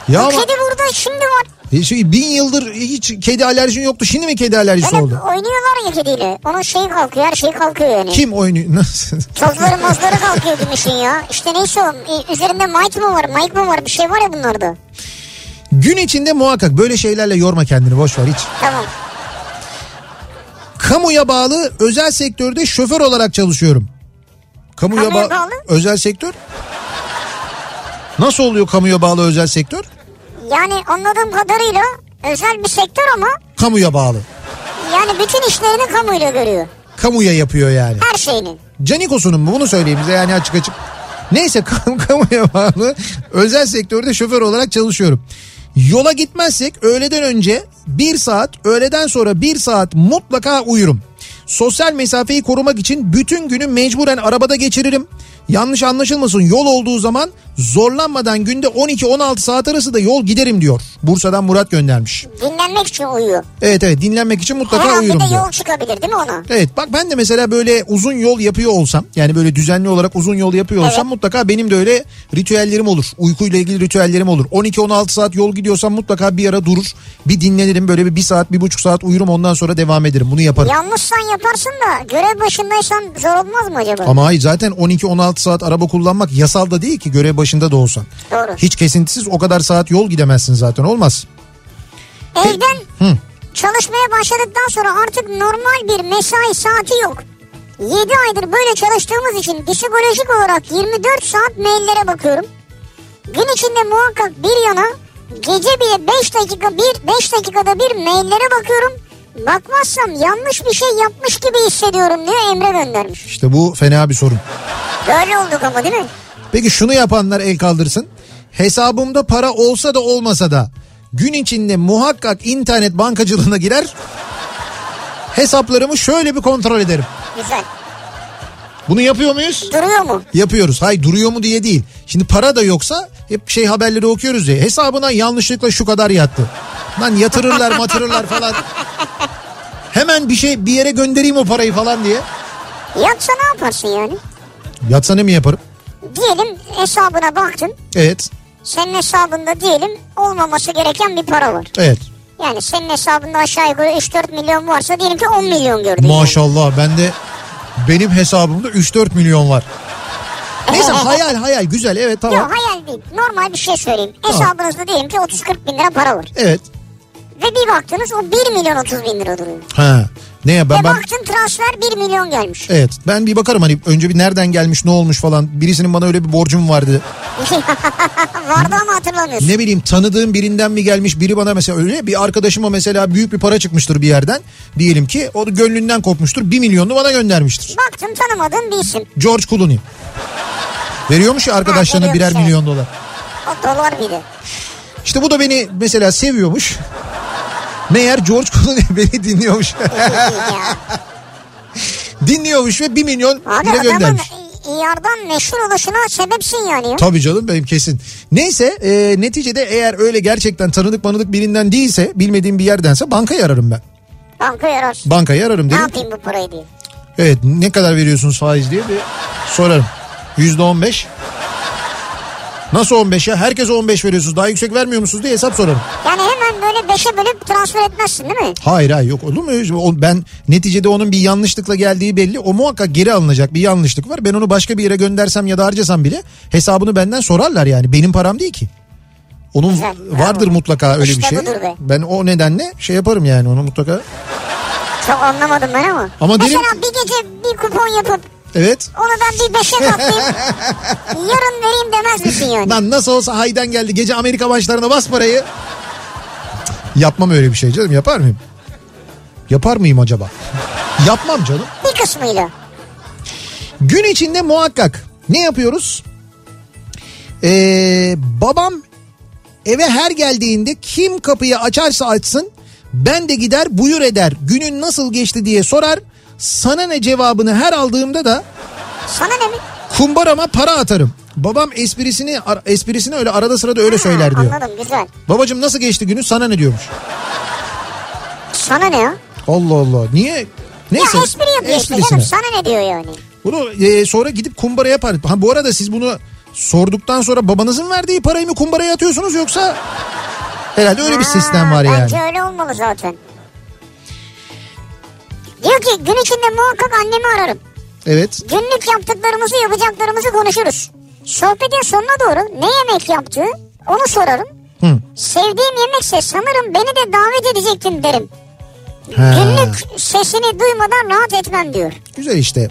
Speaker 2: Ya
Speaker 1: Bu
Speaker 2: ama-
Speaker 1: kedi burada şimdi var.
Speaker 2: E Şey, bin yıldır hiç kedi alerjin yoktu. Şimdi mi kedi alerjisi
Speaker 1: Böyle
Speaker 2: oldu?
Speaker 1: oynuyorlar ya kediyle. Onun şeyi kalkıyor her şey kalkıyor yani.
Speaker 2: Kim oynuyor? Nasıl?
Speaker 1: Tozları mozları kalkıyor gümüşün ya. İşte neyse o e, üzerinde mic mı var mic mı var bir şey var ya bunlarda.
Speaker 2: Gün içinde muhakkak böyle şeylerle yorma kendini boş ver hiç.
Speaker 1: Tamam.
Speaker 2: Kamuya bağlı özel sektörde şoför olarak çalışıyorum. Kamuya,
Speaker 1: Kamuya
Speaker 2: ba-
Speaker 1: bağlı?
Speaker 2: özel sektör? Nasıl oluyor kamuya bağlı özel sektör?
Speaker 1: Yani anladığım kadarıyla özel bir sektör ama
Speaker 2: Kamuya bağlı.
Speaker 1: yani bütün işlerini kamuyla görüyor.
Speaker 2: Kamuya yapıyor yani.
Speaker 1: Her şeyini.
Speaker 2: Canikosu'nun mu bunu söyleyeyim bize yani açık açık. Neyse kam- kamuya bağlı özel sektörde şoför olarak çalışıyorum. Yola gitmezsek öğleden önce bir saat öğleden sonra bir saat mutlaka uyurum. Sosyal mesafeyi korumak için bütün günü mecburen arabada geçiririm. Yanlış anlaşılmasın yol olduğu zaman zorlanmadan günde 12-16 saat arası da yol giderim diyor. Bursa'dan Murat göndermiş.
Speaker 1: Dinlenmek için uyuyor.
Speaker 2: Evet evet dinlenmek için mutlaka
Speaker 1: Herhalde
Speaker 2: uyurum
Speaker 1: de
Speaker 2: diyor.
Speaker 1: yol çıkabilir değil mi ona?
Speaker 2: Evet bak ben de mesela böyle uzun yol yapıyor olsam yani böyle düzenli olarak uzun yol yapıyor olsam
Speaker 1: Evet.
Speaker 2: mutlaka benim de öyle ritüellerim olur. Uykuyla ilgili ritüellerim olur. 12-16 saat yol gidiyorsam mutlaka bir ara durur. Bir dinlenirim böyle bir, bir saat bir buçuk saat uyurum ondan sonra devam ederim bunu yaparım.
Speaker 1: Yanlışsan yaparsın da görev başındaysan zor olmaz mı acaba?
Speaker 2: Ama hayır zaten 12-16 saat araba kullanmak yasal da değil ki görev başında da olsan.
Speaker 1: Doğru.
Speaker 2: Hiç kesintisiz o kadar saat yol gidemezsin zaten olmaz.
Speaker 1: Evden çalışmaya başladıktan sonra artık normal bir mesai saati yok. 7 aydır böyle çalıştığımız için psikolojik olarak 24 saat maillere bakıyorum. Gün içinde muhakkak bir yana gece bile 5 dakika bir 5 dakikada bir maillere bakıyorum. Bakmazsam yanlış bir şey yapmış gibi hissediyorum diyor Emre göndermiş.
Speaker 2: İşte bu fena bir sorun.
Speaker 1: Böyle olduk ama değil mi?
Speaker 2: Peki şunu yapanlar el kaldırsın. Hesabımda para olsa da olmasa da gün içinde muhakkak internet bankacılığına girer. Hesaplarımı şöyle bir kontrol ederim.
Speaker 1: Güzel.
Speaker 2: Bunu yapıyor muyuz?
Speaker 1: Duruyor mu?
Speaker 2: Yapıyoruz. Hay duruyor mu diye değil. Şimdi para da yoksa hep şey haberleri okuyoruz ya. Hesabına yanlışlıkla şu kadar yattı. Lan yatırırlar matırırlar falan. Hemen bir şey bir yere göndereyim o parayı falan diye.
Speaker 1: Yoksa ne yaparsın yani?
Speaker 2: Yatsa ne mi yaparım?
Speaker 1: Diyelim hesabına baktın.
Speaker 2: Evet.
Speaker 1: Senin hesabında diyelim olmaması gereken bir para var.
Speaker 2: Evet.
Speaker 1: Yani senin hesabında aşağı yukarı 3-4 milyon varsa diyelim ki 10 milyon gördün.
Speaker 2: Maşallah ben de benim hesabımda 3-4 milyon var. Neyse hayal hayal güzel evet
Speaker 1: Yani.
Speaker 2: tamam.
Speaker 1: Yok hayal değil. Normal bir şey söyleyeyim. Hesabınızda diyelim ki 30-40 bin lira para var.
Speaker 2: Evet.
Speaker 1: Ve bir baktınız o 1 milyon 30 bin lira duruyor.
Speaker 2: Ha. Ne ya ben
Speaker 1: Ve
Speaker 2: ben
Speaker 1: baktın transfer 1 milyon gelmiş.
Speaker 2: evet ben bir bakarım hani önce bir nereden gelmiş ne olmuş falan birisinin bana öyle bir borcum vardı.
Speaker 1: Vardı ama hatırlamıyorsun.
Speaker 2: Ne bileyim tanıdığım birinden mi gelmiş biri bana mesela öyle bir arkadaşıma mesela büyük bir para çıkmıştır bir yerden diyelim ki o da gönlünden kopmuştur 1 milyonunu bana göndermiştir.
Speaker 1: Baktın tanımadığın bir isim.
Speaker 2: George Clooney. Veriyormuş ya arkadaşlarına
Speaker 1: veriyormuş,
Speaker 2: birer
Speaker 1: evet.
Speaker 2: milyon dolar.
Speaker 1: O dolar bir de.
Speaker 2: İşte bu da beni mesela seviyormuş. Meğer George Clooney beni dinliyormuş.
Speaker 1: ya.
Speaker 2: dinliyormuş ve 1 milyon
Speaker 1: Abi
Speaker 2: lira
Speaker 1: adamın
Speaker 2: göndermiş.
Speaker 1: yardan meşhur oluşuna sebepsin yani. ya.
Speaker 2: Tabii canım benim kesin. Neyse e, neticede eğer öyle gerçekten tanıdık manıdık birinden değilse bilmediğim bir yerdense bankayı ararım ben.
Speaker 1: Banka yararsın.
Speaker 2: Bankayı ararım
Speaker 1: Ne
Speaker 2: derim.
Speaker 1: yapayım bu parayı diye.
Speaker 2: Evet ne kadar veriyorsunuz faiz diye bir sorarım. Yüzde on beş. Nasıl 15 ya? Herkese 15 veriyorsunuz. Daha yüksek vermiyor musunuz diye hesap sorarım.
Speaker 1: Yani hemen hemen böyle beşe bölüp transfer etmezsin değil mi?
Speaker 2: Hayır hayır yok olur mu? şey? O- Ben neticede onun bir yanlışlıkla geldiği belli. O muhakkak geri alınacak bir yanlışlık var. Ben onu başka bir yere göndersem ya da harcasam bile hesabını benden sorarlar yani. Benim param değil ki. Onun
Speaker 1: Güzel, bravo.
Speaker 2: vardır mutlaka öyle
Speaker 1: İşte
Speaker 2: bir şey.
Speaker 1: budur be.
Speaker 2: Ben o nedenle şey yaparım yani onu mutlaka.
Speaker 1: Çok anlamadım ben ama.
Speaker 2: Ama
Speaker 1: Mesela
Speaker 2: dedim-
Speaker 1: bir gece bir kupon yapıp
Speaker 2: Evet.
Speaker 1: onu ben bir beşe katlayayım. yarın vereyim demez misin yani?
Speaker 2: Lan nasıl olsa haydan geldi. Gece Amerika maçlarına bas parayı. Yapmam öyle bir şey canım. Yapar mıyım? Yapar mıyım acaba? Yapmam canım.
Speaker 1: Bir kısmıyla.
Speaker 2: Gün içinde muhakkak ne yapıyoruz? Ee, babam eve her geldiğinde kim kapıyı açarsa açsın ben de gider buyur eder günün nasıl geçti diye sorar sana ne cevabını her aldığımda da
Speaker 1: Sana ne mi?
Speaker 2: kumbarama para atarım. Babam esprisini ar- esprisini öyle arada sırada öyle söyler
Speaker 1: Ha,
Speaker 2: diyor.
Speaker 1: Anladım güzel.
Speaker 2: Babacım nasıl geçti günü sana ne diyormuş.
Speaker 1: Sana ne ya?
Speaker 2: Allah Allah niye? Neyse.
Speaker 1: Ya espri yapıyor işte
Speaker 2: esprisine.
Speaker 1: canım sana ne diyor yani?
Speaker 2: Bunu e, sonra gidip kumbara yapar. Ha, bu arada siz bunu sorduktan sonra babanızın verdiği parayı mı kumbaraya atıyorsunuz yoksa herhalde öyle bir
Speaker 1: Ha,
Speaker 2: sistem var yani.
Speaker 1: Bence öyle olmalı zaten. Diyor ki gün içinde muhakkak annemi ararım.
Speaker 2: Evet.
Speaker 1: Günlük yaptıklarımızı yapacaklarımızı konuşuruz. Sohbetin sonuna doğru ne yemek yaptığı onu sorarım.
Speaker 2: Hı.
Speaker 1: Sevdiğim yemekse sanırım beni de davet edecektin derim.
Speaker 2: Ha,
Speaker 1: Günlük sesini duymadan rahat etmem diyor.
Speaker 2: Güzel işte.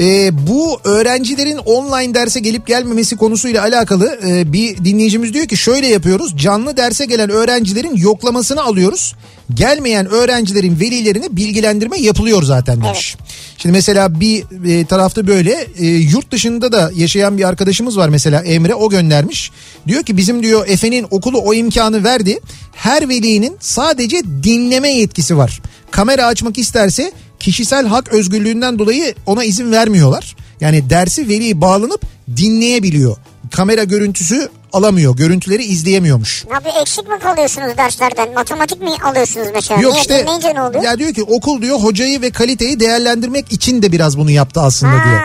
Speaker 2: E, bu öğrencilerin online derse gelip gelmemesi konusuyla alakalı e, bir dinleyicimiz diyor ki şöyle yapıyoruz. Canlı derse gelen öğrencilerin yoklamasını alıyoruz. Gelmeyen öğrencilerin velilerine bilgilendirme yapılıyor zaten demiş. Şimdi mesela bir e, tarafta böyle e, yurt dışında da yaşayan bir arkadaşımız var mesela Emre o göndermiş. Diyor ki bizim diyor Efe'nin okulu o imkanı verdi. Her velinin sadece dinleme yetkisi var. Kamera açmak isterse kişisel hak özgürlüğünden dolayı ona izin vermiyorlar. Yani dersi veli bağlanıp dinleyebiliyor. Kamera görüntüsü alamıyor. Görüntüleri izleyemiyormuş.
Speaker 1: Abi eksik mi kalıyorsunuz derslerden? Matematik mi alıyorsunuz mesela?
Speaker 2: Yok
Speaker 1: Niye
Speaker 2: işte
Speaker 1: dinleyince ne oluyor?
Speaker 2: ya diyor ki okul diyor hocayı ve kaliteyi değerlendirmek için de biraz bunu yaptı aslında
Speaker 1: Ha.
Speaker 2: diyor.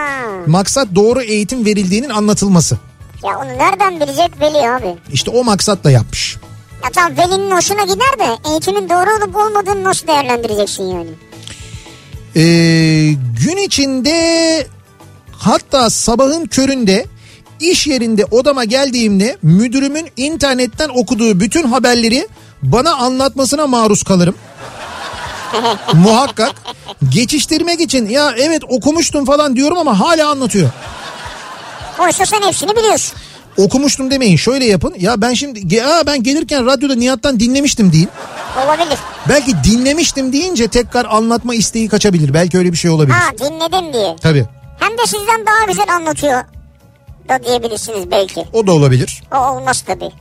Speaker 2: Maksat doğru eğitim verildiğinin anlatılması.
Speaker 1: Ya onu nereden bilecek veli abi?
Speaker 2: İşte o maksatla yapmış.
Speaker 1: Ya tamam velinin hoşuna gider de eğitimin doğru olup olmadığını nasıl değerlendireceksin yani?
Speaker 2: Ee, gün içinde hatta sabahın köründe iş yerinde odama geldiğimde müdürümün internetten okuduğu bütün haberleri bana anlatmasına maruz kalırım. Muhakkak geçiştirmek için ya evet okumuştum falan diyorum ama hala anlatıyor.
Speaker 1: Oysa sen hepsini biliyorsun.
Speaker 2: Okumuştum demeyin şöyle yapın. Ya ben şimdi ya ben gelirken radyoda Nihat'tan dinlemiştim deyin.
Speaker 1: Olabilir.
Speaker 2: Belki dinlemiştim deyince tekrar anlatma isteği kaçabilir. Belki öyle bir şey olabilir.
Speaker 1: Ha dinledim diye.
Speaker 2: Tabii
Speaker 1: Hem de sizden daha güzel anlatıyor da diyebilirsiniz belki.
Speaker 2: o da olabilir.
Speaker 1: O olmaz tabii.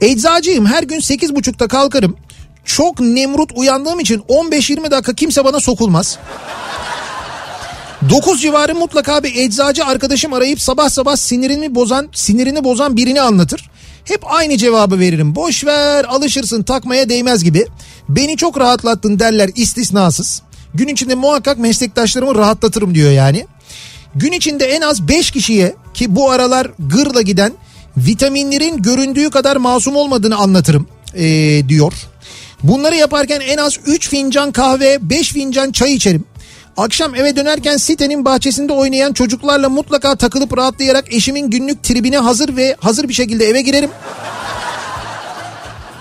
Speaker 2: Eczacıyım her gün 8.30'da kalkarım. Çok nemrut uyandığım için 15-20 dakika kimse bana sokulmaz. 9 civarı mutlaka bir eczacı arkadaşım arayıp sabah sabah sinirimi bozan sinirini bozan birini anlatır. Hep aynı cevabı veririm. Boş ver, alışırsın, takmaya değmez gibi. Beni çok rahatlattın derler istisnasız. Gün içinde muhakkak meslektaşlarımı rahatlatırım diyor yani. Gün içinde en az 5 kişiye ki bu aralar gırla giden vitaminlerin göründüğü kadar masum olmadığını anlatırım ee, diyor. Bunları yaparken en az 3 fincan kahve 5 fincan çay içerim. Akşam eve dönerken sitenin bahçesinde oynayan çocuklarla mutlaka takılıp rahatlayarak eşimin günlük tribine hazır ve hazır bir şekilde eve girerim.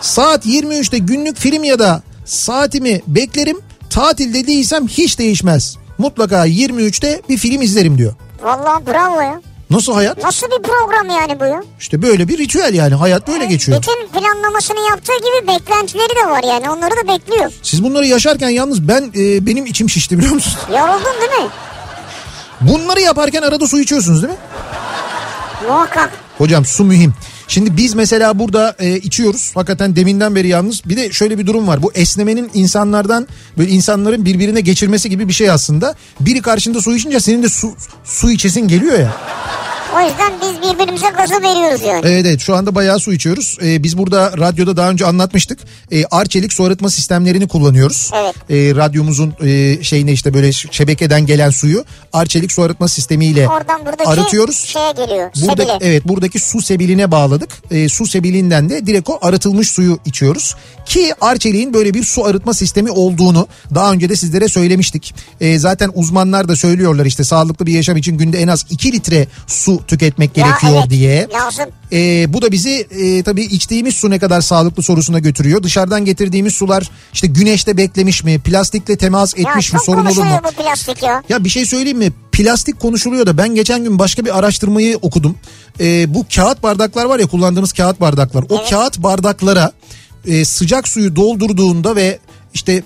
Speaker 2: Saat 23'te günlük film ya da saatimi beklerim. Tatilde değilsem hiç değişmez. Mutlaka 23'te bir film izlerim diyor.
Speaker 1: Vallahi bravo ya.
Speaker 2: Nasıl hayat?
Speaker 1: Nasıl bir program yani bu ya?
Speaker 2: İşte böyle bir ritüel yani hayat böyle geçiyor.
Speaker 1: Bütün planlamasını yaptığı gibi beklentileri de var yani. Onları da bekliyor.
Speaker 2: Siz bunları yaşarken yalnız ben e, benim içim şişti biliyor musunuz?
Speaker 1: Yoruldun değil mi?
Speaker 2: Bunları yaparken arada su içiyorsunuz değil mi?
Speaker 1: Muhakkak.
Speaker 2: Hocam su mühim. Şimdi biz mesela burada e, içiyoruz. Hakikaten deminden beri yalnız. Bir de şöyle bir durum var. Bu esnemenin insanlardan böyle insanların birbirine geçirmesi gibi bir şey aslında. Biri karşında su içince senin de su, su içesin geliyor ya.
Speaker 1: O yüzden biz birbirimize gazı veriyoruz yani.
Speaker 2: Evet evet şu anda bayağı su içiyoruz. Ee, biz burada radyoda daha önce anlatmıştık. Ee, arçelik su arıtma sistemlerini kullanıyoruz.
Speaker 1: Evet.
Speaker 2: Ee, radyomuzun e, şeyine işte böyle ş- şebekeden gelen suyu arçelik su arıtma sistemiyle
Speaker 1: Oradan buradaki şey,
Speaker 2: arıtıyoruz.
Speaker 1: şeye geliyor.
Speaker 2: Buradaki,
Speaker 1: Sebile.
Speaker 2: evet buradaki su sebiline bağladık. Ee, su sebilinden de direkt o arıtılmış suyu içiyoruz. Ki Arçelik'in böyle bir su arıtma sistemi olduğunu daha önce de sizlere söylemiştik. Ee, zaten uzmanlar da söylüyorlar işte sağlıklı bir yaşam için günde en az 2 litre su tüketmek
Speaker 1: Ya
Speaker 2: gerekiyor
Speaker 1: evet,
Speaker 2: diye.
Speaker 1: Lazım.
Speaker 2: Ee, bu da bizi e, tabii içtiğimiz su ne kadar sağlıklı sorusuna götürüyor. Dışarıdan getirdiğimiz sular işte güneşte beklemiş mi, plastikle temas
Speaker 1: Ya
Speaker 2: etmiş mi,
Speaker 1: çok
Speaker 2: sorun olur mu?
Speaker 1: konuşuluyor bu plastik ya.
Speaker 2: Ya bir şey söyleyeyim mi? Plastik konuşuluyor da ben geçen gün başka bir araştırmayı okudum. Ee, bu kağıt bardaklar var ya kullandığımız kağıt bardaklar. O kağıt bardaklara e, sıcak suyu doldurduğunda ve işte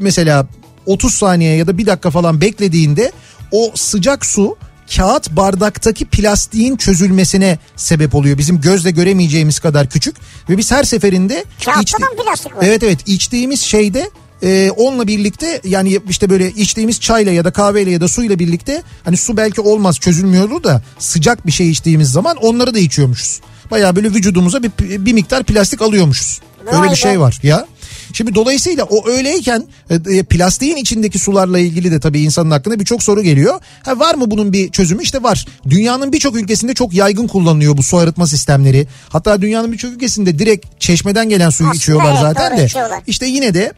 Speaker 2: mesela 30 saniye ya da 1 dakika falan beklediğinde o sıcak su kağıt bardaktaki plastiğin çözülmesine sebep oluyor. Bizim gözle göremeyeceğimiz kadar küçük ve biz her seferinde
Speaker 1: Kağıtta
Speaker 2: içti-
Speaker 1: da mı plastik var?
Speaker 2: Evet evet içtiğimiz şeyde e, onunla birlikte yani işte böyle içtiğimiz çayla ya da kahveyle ya da suyla birlikte hani su belki olmaz çözülmüyordu da sıcak bir şey içtiğimiz zaman onları da içiyormuşuz. Baya böyle vücudumuza bir, bir miktar plastik alıyormuşuz.
Speaker 1: Vay
Speaker 2: Öyle
Speaker 1: be.
Speaker 2: bir şey var ya. Şimdi dolayısıyla o öyleyken e, e, plastiğin içindeki sularla ilgili de tabii insanın aklına birçok soru geliyor. Ha, var mı bunun bir çözümü? İşte var. Dünyanın birçok ülkesinde çok yaygın kullanılıyor bu su arıtma sistemleri. Hatta dünyanın birçok ülkesinde direkt çeşmeden gelen suyu
Speaker 1: Aslında
Speaker 2: içiyorlar
Speaker 1: evet,
Speaker 2: zaten
Speaker 1: doğru,
Speaker 2: de.
Speaker 1: içiyorlar.
Speaker 2: İşte yine de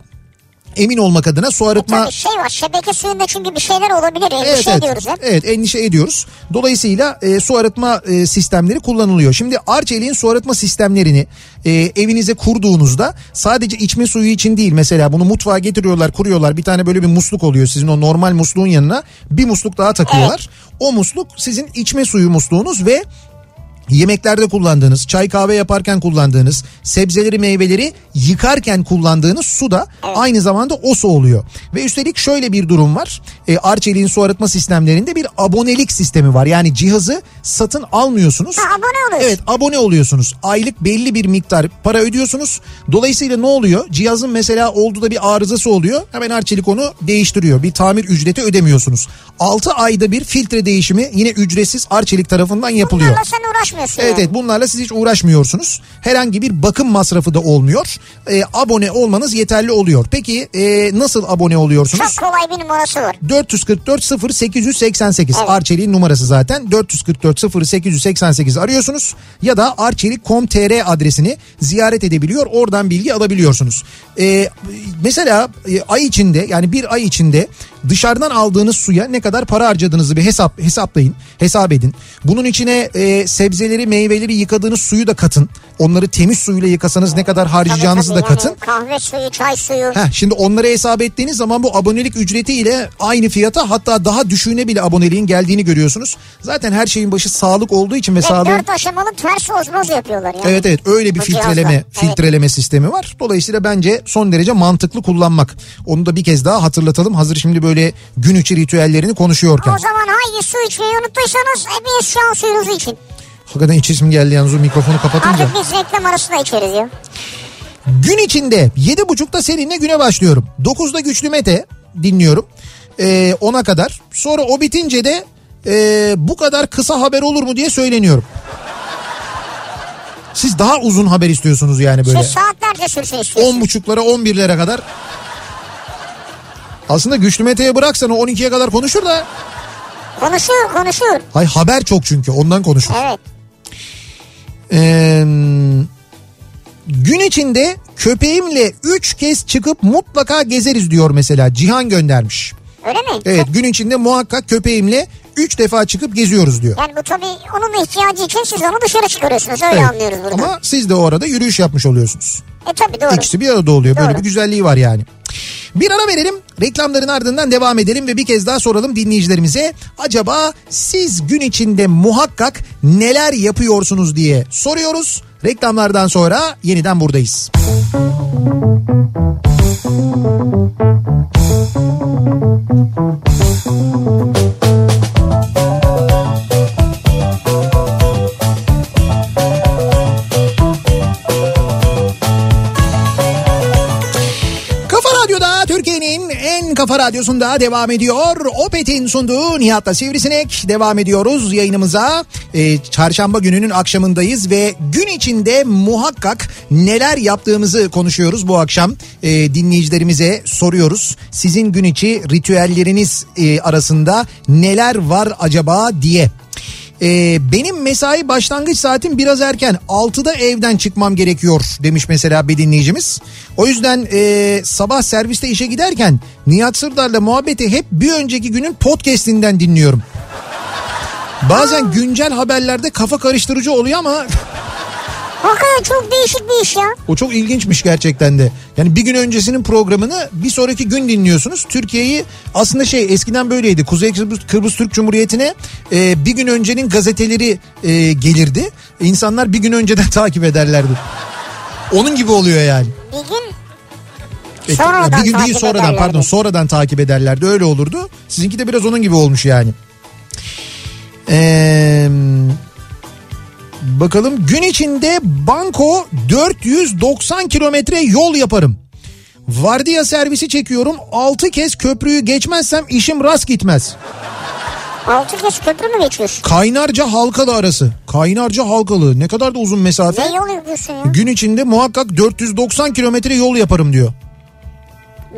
Speaker 2: emin olmak adına su arıtma
Speaker 1: Tabii şey var şebeke suyunda çünkü bir şeyler olabilir. Endişe
Speaker 2: Evet, evet.
Speaker 1: ediyoruz hep.
Speaker 2: Evet endişe ediyoruz. Dolayısıyla e, su arıtma e, sistemleri kullanılıyor. Şimdi Arçelik'in su arıtma sistemlerini e, evinize kurduğunuzda sadece içme suyu için değil mesela bunu mutfağa getiriyorlar kuruyorlar bir tane böyle bir musluk oluyor sizin o normal musluğun yanına bir musluk daha takıyorlar. O musluk sizin içme suyu musluğunuz ve yemeklerde kullandığınız, çay kahve yaparken kullandığınız, sebzeleri meyveleri yıkarken kullandığınız su da aynı zamanda o su oluyor. Ve üstelik şöyle bir durum var. E, Arçelik'in su arıtma sistemlerinde bir abonelik sistemi var. Yani cihazı satın almıyorsunuz.
Speaker 1: Ha, abone oluyorsun.
Speaker 2: Evet abone oluyorsunuz. Aylık belli bir miktar para ödüyorsunuz. Dolayısıyla ne oluyor? Cihazın mesela oldu da bir arızası oluyor. Hemen Arçelik onu değiştiriyor. Bir tamir ücreti ödemiyorsunuz. 6 ayda bir filtre değişimi yine ücretsiz Arçelik tarafından yapılıyor.
Speaker 1: Bunlarla sen uğraşmıyorsun.
Speaker 2: Evet
Speaker 1: yani.
Speaker 2: evet bunlarla siz hiç uğraşmıyorsunuz. Herhangi bir bakım masrafı da olmuyor. E, abone olmanız yeterli oluyor. Peki e, nasıl abone oluyorsunuz?
Speaker 1: Çok kolay bir numarası var.
Speaker 2: 444 0888
Speaker 1: Evet.
Speaker 2: Arçelik'in numarası zaten 444 0888 arıyorsunuz ya da arçelik.com.tr adresini ziyaret edebiliyor oradan bilgi alabiliyorsunuz. Ee, mesela e, ay içinde yani bir ay içinde dışarıdan aldığınız suya ne kadar para harcadığınızı bir hesap hesaplayın hesap edin. Bunun içine e, sebzeleri meyveleri yıkadığınız suyu da katın onları temiz suyla yıkasanız ne kadar harcayacağınızı
Speaker 1: Tabii,
Speaker 2: da
Speaker 1: tabii,
Speaker 2: katın.
Speaker 1: yani kahve suyu, çay suyu.
Speaker 2: Heh, şimdi onları hesap ettiğiniz zaman bu abonelik ücretiyle aynı fiyata hatta daha düşüğüne bile aboneliğin geldiğini görüyorsunuz. Zaten her şeyin başı sağlık olduğu için ve
Speaker 1: Ve
Speaker 2: sağlığın...
Speaker 1: dört aşamalı ters ozmoz yapıyorlar yani.
Speaker 2: Evet evet öyle bir
Speaker 1: Bu
Speaker 2: filtreleme
Speaker 1: cihazla, evet.
Speaker 2: filtreleme sistemi var. Dolayısıyla bence son derece mantıklı kullanmak. Onu da bir kez daha hatırlatalım. Hazır şimdi böyle gün içi ritüellerini konuşuyorken.
Speaker 1: O zaman haydi su içmeyi unuttuysanız hepiniz şu an suyunuzu için.
Speaker 2: Hakikaten iç isim geldi yalnız o mikrofonu kapatınca.
Speaker 1: Artık biz reklam arasında içeriz ya.
Speaker 2: Gün içinde 7.30'da seninle güne başlıyorum. 9'da Güçlü Mete dinliyorum. Ee, 10'a kadar. Sonra o bitince de ee, bu kadar kısa haber olur mu diye söyleniyorum. Siz daha uzun haber istiyorsunuz yani böyle.
Speaker 1: Siz saatlerce sürsün istiyorsunuz.
Speaker 2: 10.30'lara 11'lere kadar. Aslında Güçlü Mete'ye bıraksan o 12'ye kadar konuşur da.
Speaker 1: Konuşuyor konuşuyor.
Speaker 2: Hay haber çok çünkü ondan konuşur.
Speaker 1: Evet.
Speaker 2: Ee, gün içinde köpeğimle 3 kez çıkıp mutlaka gezeriz diyor mesela Cihan göndermiş.
Speaker 1: Öyle mi?
Speaker 2: Evet gün içinde muhakkak köpeğimle 3 defa çıkıp geziyoruz diyor.
Speaker 1: Yani bu tabii onun ihtiyacı için siz onu dışarı çıkarıyorsunuz. Öyle
Speaker 2: Evet.
Speaker 1: anlıyoruz burada.
Speaker 2: Ama siz de o arada yürüyüş yapmış oluyorsunuz.
Speaker 1: E tabii doğru.
Speaker 2: İkisi bir arada oluyor. Böyle
Speaker 1: Doğru.
Speaker 2: bir güzelliği var yani. Bir ara verelim. Reklamların ardından devam edelim ve bir kez daha soralım dinleyicilerimize. Acaba siz gün içinde muhakkak neler yapıyorsunuz diye soruyoruz. Reklamlardan sonra yeniden buradayız. Kafa Radyo'da Türkiye'nin en kafa Kafa Radyosu'nda devam ediyor. Opet'in sunduğu Nihat'la Sivrisinek devam ediyoruz yayınımıza. Ee, çarşamba gününün akşamındayız ve gün içinde muhakkak neler yaptığımızı konuşuyoruz bu akşam. Ee, dinleyicilerimize soruyoruz. Sizin gün içi ritüelleriniz e, arasında neler var acaba diye. Ee, benim mesai başlangıç saatim biraz erken. 6'da evden çıkmam gerekiyor demiş mesela bir dinleyicimiz. O yüzden e, sabah serviste işe giderken Nihat Sırdar'la muhabbeti hep bir önceki günün podcastinden dinliyorum. Bazen güncel haberlerde kafa karıştırıcı oluyor ama
Speaker 1: Hakikaten çok değişik bir iş ya.
Speaker 2: o çok ilginçmiş gerçekten de. Yani bir gün öncesinin programını bir sonraki gün dinliyorsunuz. Türkiye'yi aslında şey eskiden böyleydi. Kuzey Kıbrıs, Kıbrıs Türk Cumhuriyeti'ne e, bir gün öncenin gazeteleri e, gelirdi. İnsanlar bir gün önceden takip ederlerdi. Onun gibi oluyor yani.
Speaker 1: Bir gün
Speaker 2: E,
Speaker 1: Sonradan
Speaker 2: bir gün, bir gün
Speaker 1: takip
Speaker 2: sonradan
Speaker 1: ederlerdi.
Speaker 2: pardon sonradan takip ederlerdi öyle olurdu. Sizinki de biraz onun gibi olmuş yani. Eee, bakalım gün içinde Banko 490 kilometre yol yaparım. Vardiya servisi çekiyorum 6 kez köprüyü geçmezsem işim rast gitmez.
Speaker 1: altı kez köprü mü geçiyorsun?
Speaker 2: Kaynarca Halkalı arası. Kaynarca Halkalı ne kadar da uzun mesafe.
Speaker 1: Ne yol yapıyorsun ya?
Speaker 2: Gün içinde muhakkak 490 kilometre yol yaparım diyor.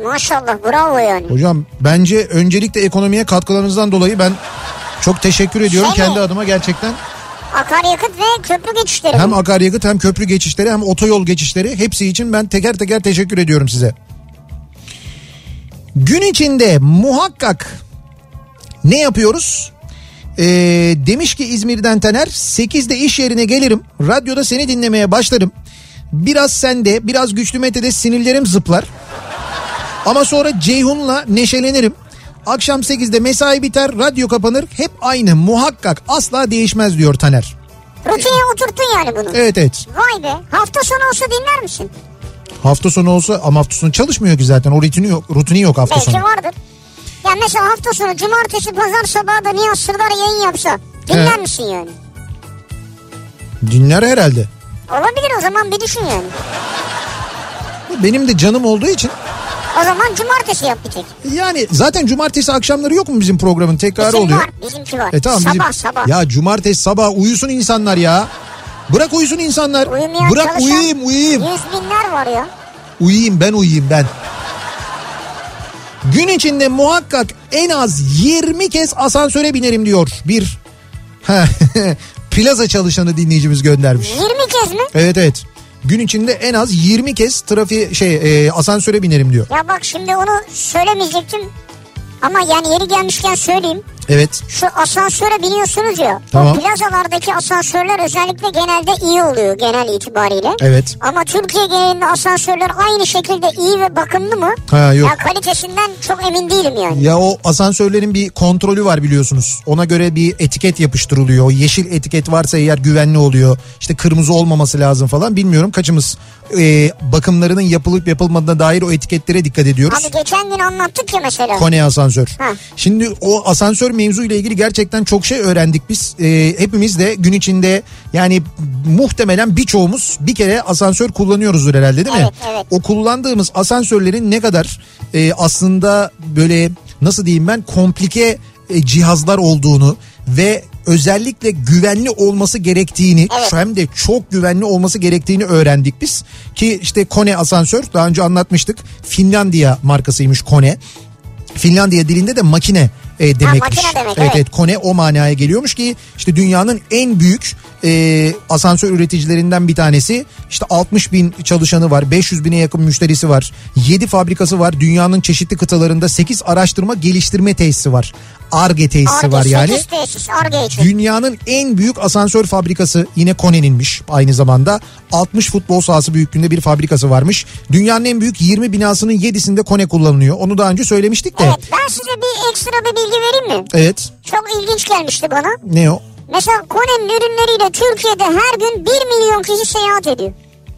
Speaker 1: Maşallah bravo yani.
Speaker 2: Hocam bence öncelikle ekonomiye katkılarınızdan dolayı ben çok teşekkür ediyorum
Speaker 1: Şey mi?
Speaker 2: kendi adıma gerçekten.
Speaker 1: Akaryakıt ve köprü geçişleri.
Speaker 2: Hem akaryakıt hem köprü geçişleri hem otoyol geçişleri hepsi için ben teker teker teşekkür ediyorum size. Gün içinde muhakkak ne yapıyoruz? Ee, demiş ki İzmir'den Taner 8'de iş yerine gelirim. Radyoda seni dinlemeye başlarım. Biraz sende biraz güçlü metede sinirlerim zıplar. Ama sonra Ceyhun'la neşelenirim. Akşam 8'de mesai biter, radyo kapanır. Hep aynı muhakkak asla değişmez diyor Taner.
Speaker 1: Rutine oturttun yani bunu.
Speaker 2: Evet evet.
Speaker 1: Vay be. Hafta sonu olsa dinler misin?
Speaker 2: Hafta sonu olsa ama hafta sonu çalışmıyor ki zaten. O rutini yok, rutini yok hafta
Speaker 1: Belki
Speaker 2: sonu.
Speaker 1: vardır. Ya mesela hafta sonu cumartesi pazar sabahı da Nihat Sırdar yayın yapsa dinler
Speaker 2: Evet.
Speaker 1: misin yani?
Speaker 2: Dinler herhalde.
Speaker 1: Olabilir o zaman bir düşün yani.
Speaker 2: Benim de canım olduğu için.
Speaker 1: O zaman cumartesi yap bir tek.
Speaker 2: Yani zaten cumartesi akşamları yok mu bizim programın tekrarı
Speaker 1: Bizim
Speaker 2: oluyor?
Speaker 1: var bizimki var.
Speaker 2: E tamam
Speaker 1: sabah
Speaker 2: bizim-
Speaker 1: sabah.
Speaker 2: Ya cumartesi sabah uyusun insanlar ya. Bırak uyusun insanlar.
Speaker 1: Uyumayan
Speaker 2: Bırak
Speaker 1: çalışan
Speaker 2: uyuyayım uyuyayım.
Speaker 1: Yüz binler var ya.
Speaker 2: Uyuyayım ben uyuyayım ben. Gün içinde muhakkak en az 20 kez asansöre binerim diyor bir plaza çalışanı dinleyicimiz göndermiş.
Speaker 1: 20 kez mi?
Speaker 2: Evet evet. Gün içinde en az 20 kez trafiğe şey e, asansöre binerim diyor.
Speaker 1: Ya bak şimdi onu söylemeyecektim. Ama yani yeri gelmişken söyleyeyim.
Speaker 2: Evet.
Speaker 1: Şu asansöre biniyorsunuz ya.
Speaker 2: Tamam.
Speaker 1: Bu plazalardaki asansörler özellikle genelde iyi oluyor genel itibariyle.
Speaker 2: Evet.
Speaker 1: Ama Türkiye genelinde asansörler aynı şekilde iyi ve bakımlı mı?
Speaker 2: Ha, yok.
Speaker 1: Ya kalitesinden çok emin değilim yani.
Speaker 2: Ya o asansörlerin bir kontrolü var biliyorsunuz. Ona göre bir etiket yapıştırılıyor. O yeşil etiket varsa eğer güvenli oluyor. İşte kırmızı olmaması lazım falan. Bilmiyorum kaçımız e, bakımlarının yapılıp yapılmadığına dair o etiketlere dikkat ediyoruz.
Speaker 1: Abi geçen gün anlattık ya mesela.
Speaker 2: Kone asansör.
Speaker 1: Ha.
Speaker 2: Şimdi o asansör mevzuyla ilgili gerçekten çok şey öğrendik biz. Ee, hepimiz de gün içinde yani muhtemelen birçoğumuz bir kere asansör kullanıyoruzdur herhalde değil mi?
Speaker 1: Evet, evet.
Speaker 2: O kullandığımız asansörlerin ne kadar e, aslında böyle nasıl diyeyim ben komplike e, cihazlar olduğunu ve özellikle güvenli olması gerektiğini
Speaker 1: Evet.
Speaker 2: şu hem de çok güvenli olması gerektiğini öğrendik biz. Ki işte Kone asansör daha önce anlatmıştık. Finlandiya markasıymış Kone. Finlandiya dilinde de makine e, demekmiş.
Speaker 1: makine demek,
Speaker 2: evet,
Speaker 1: evet.
Speaker 2: evet Kone o manaya geliyormuş ki işte dünyanın en büyük e, asansör üreticilerinden bir tanesi. İşte 60 bin çalışanı var, 500 bine yakın müşterisi var, 7 fabrikası var, dünyanın çeşitli kıtalarında 8 araştırma geliştirme tesisi var. ARGE tesisi
Speaker 1: Arge
Speaker 2: var yani.
Speaker 1: sekiz tesis, Arge için.
Speaker 2: Dünyanın en büyük asansör fabrikası yine Kone'ninmiş aynı zamanda. 60 futbol sahası büyüklüğünde bir fabrikası varmış. Dünyanın en büyük 20 binasının 7'sinde Kone kullanılıyor. Onu daha önce söylemiştik de.
Speaker 1: Evet ben size bir ekstra bir bilgi vereyim mi?
Speaker 2: Evet.
Speaker 1: Çok ilginç gelmişti bana.
Speaker 2: Ne o?
Speaker 1: Mesela Kone'nin ürünleriyle Türkiye'de her gün 1 milyon kişi seyahat ediyor.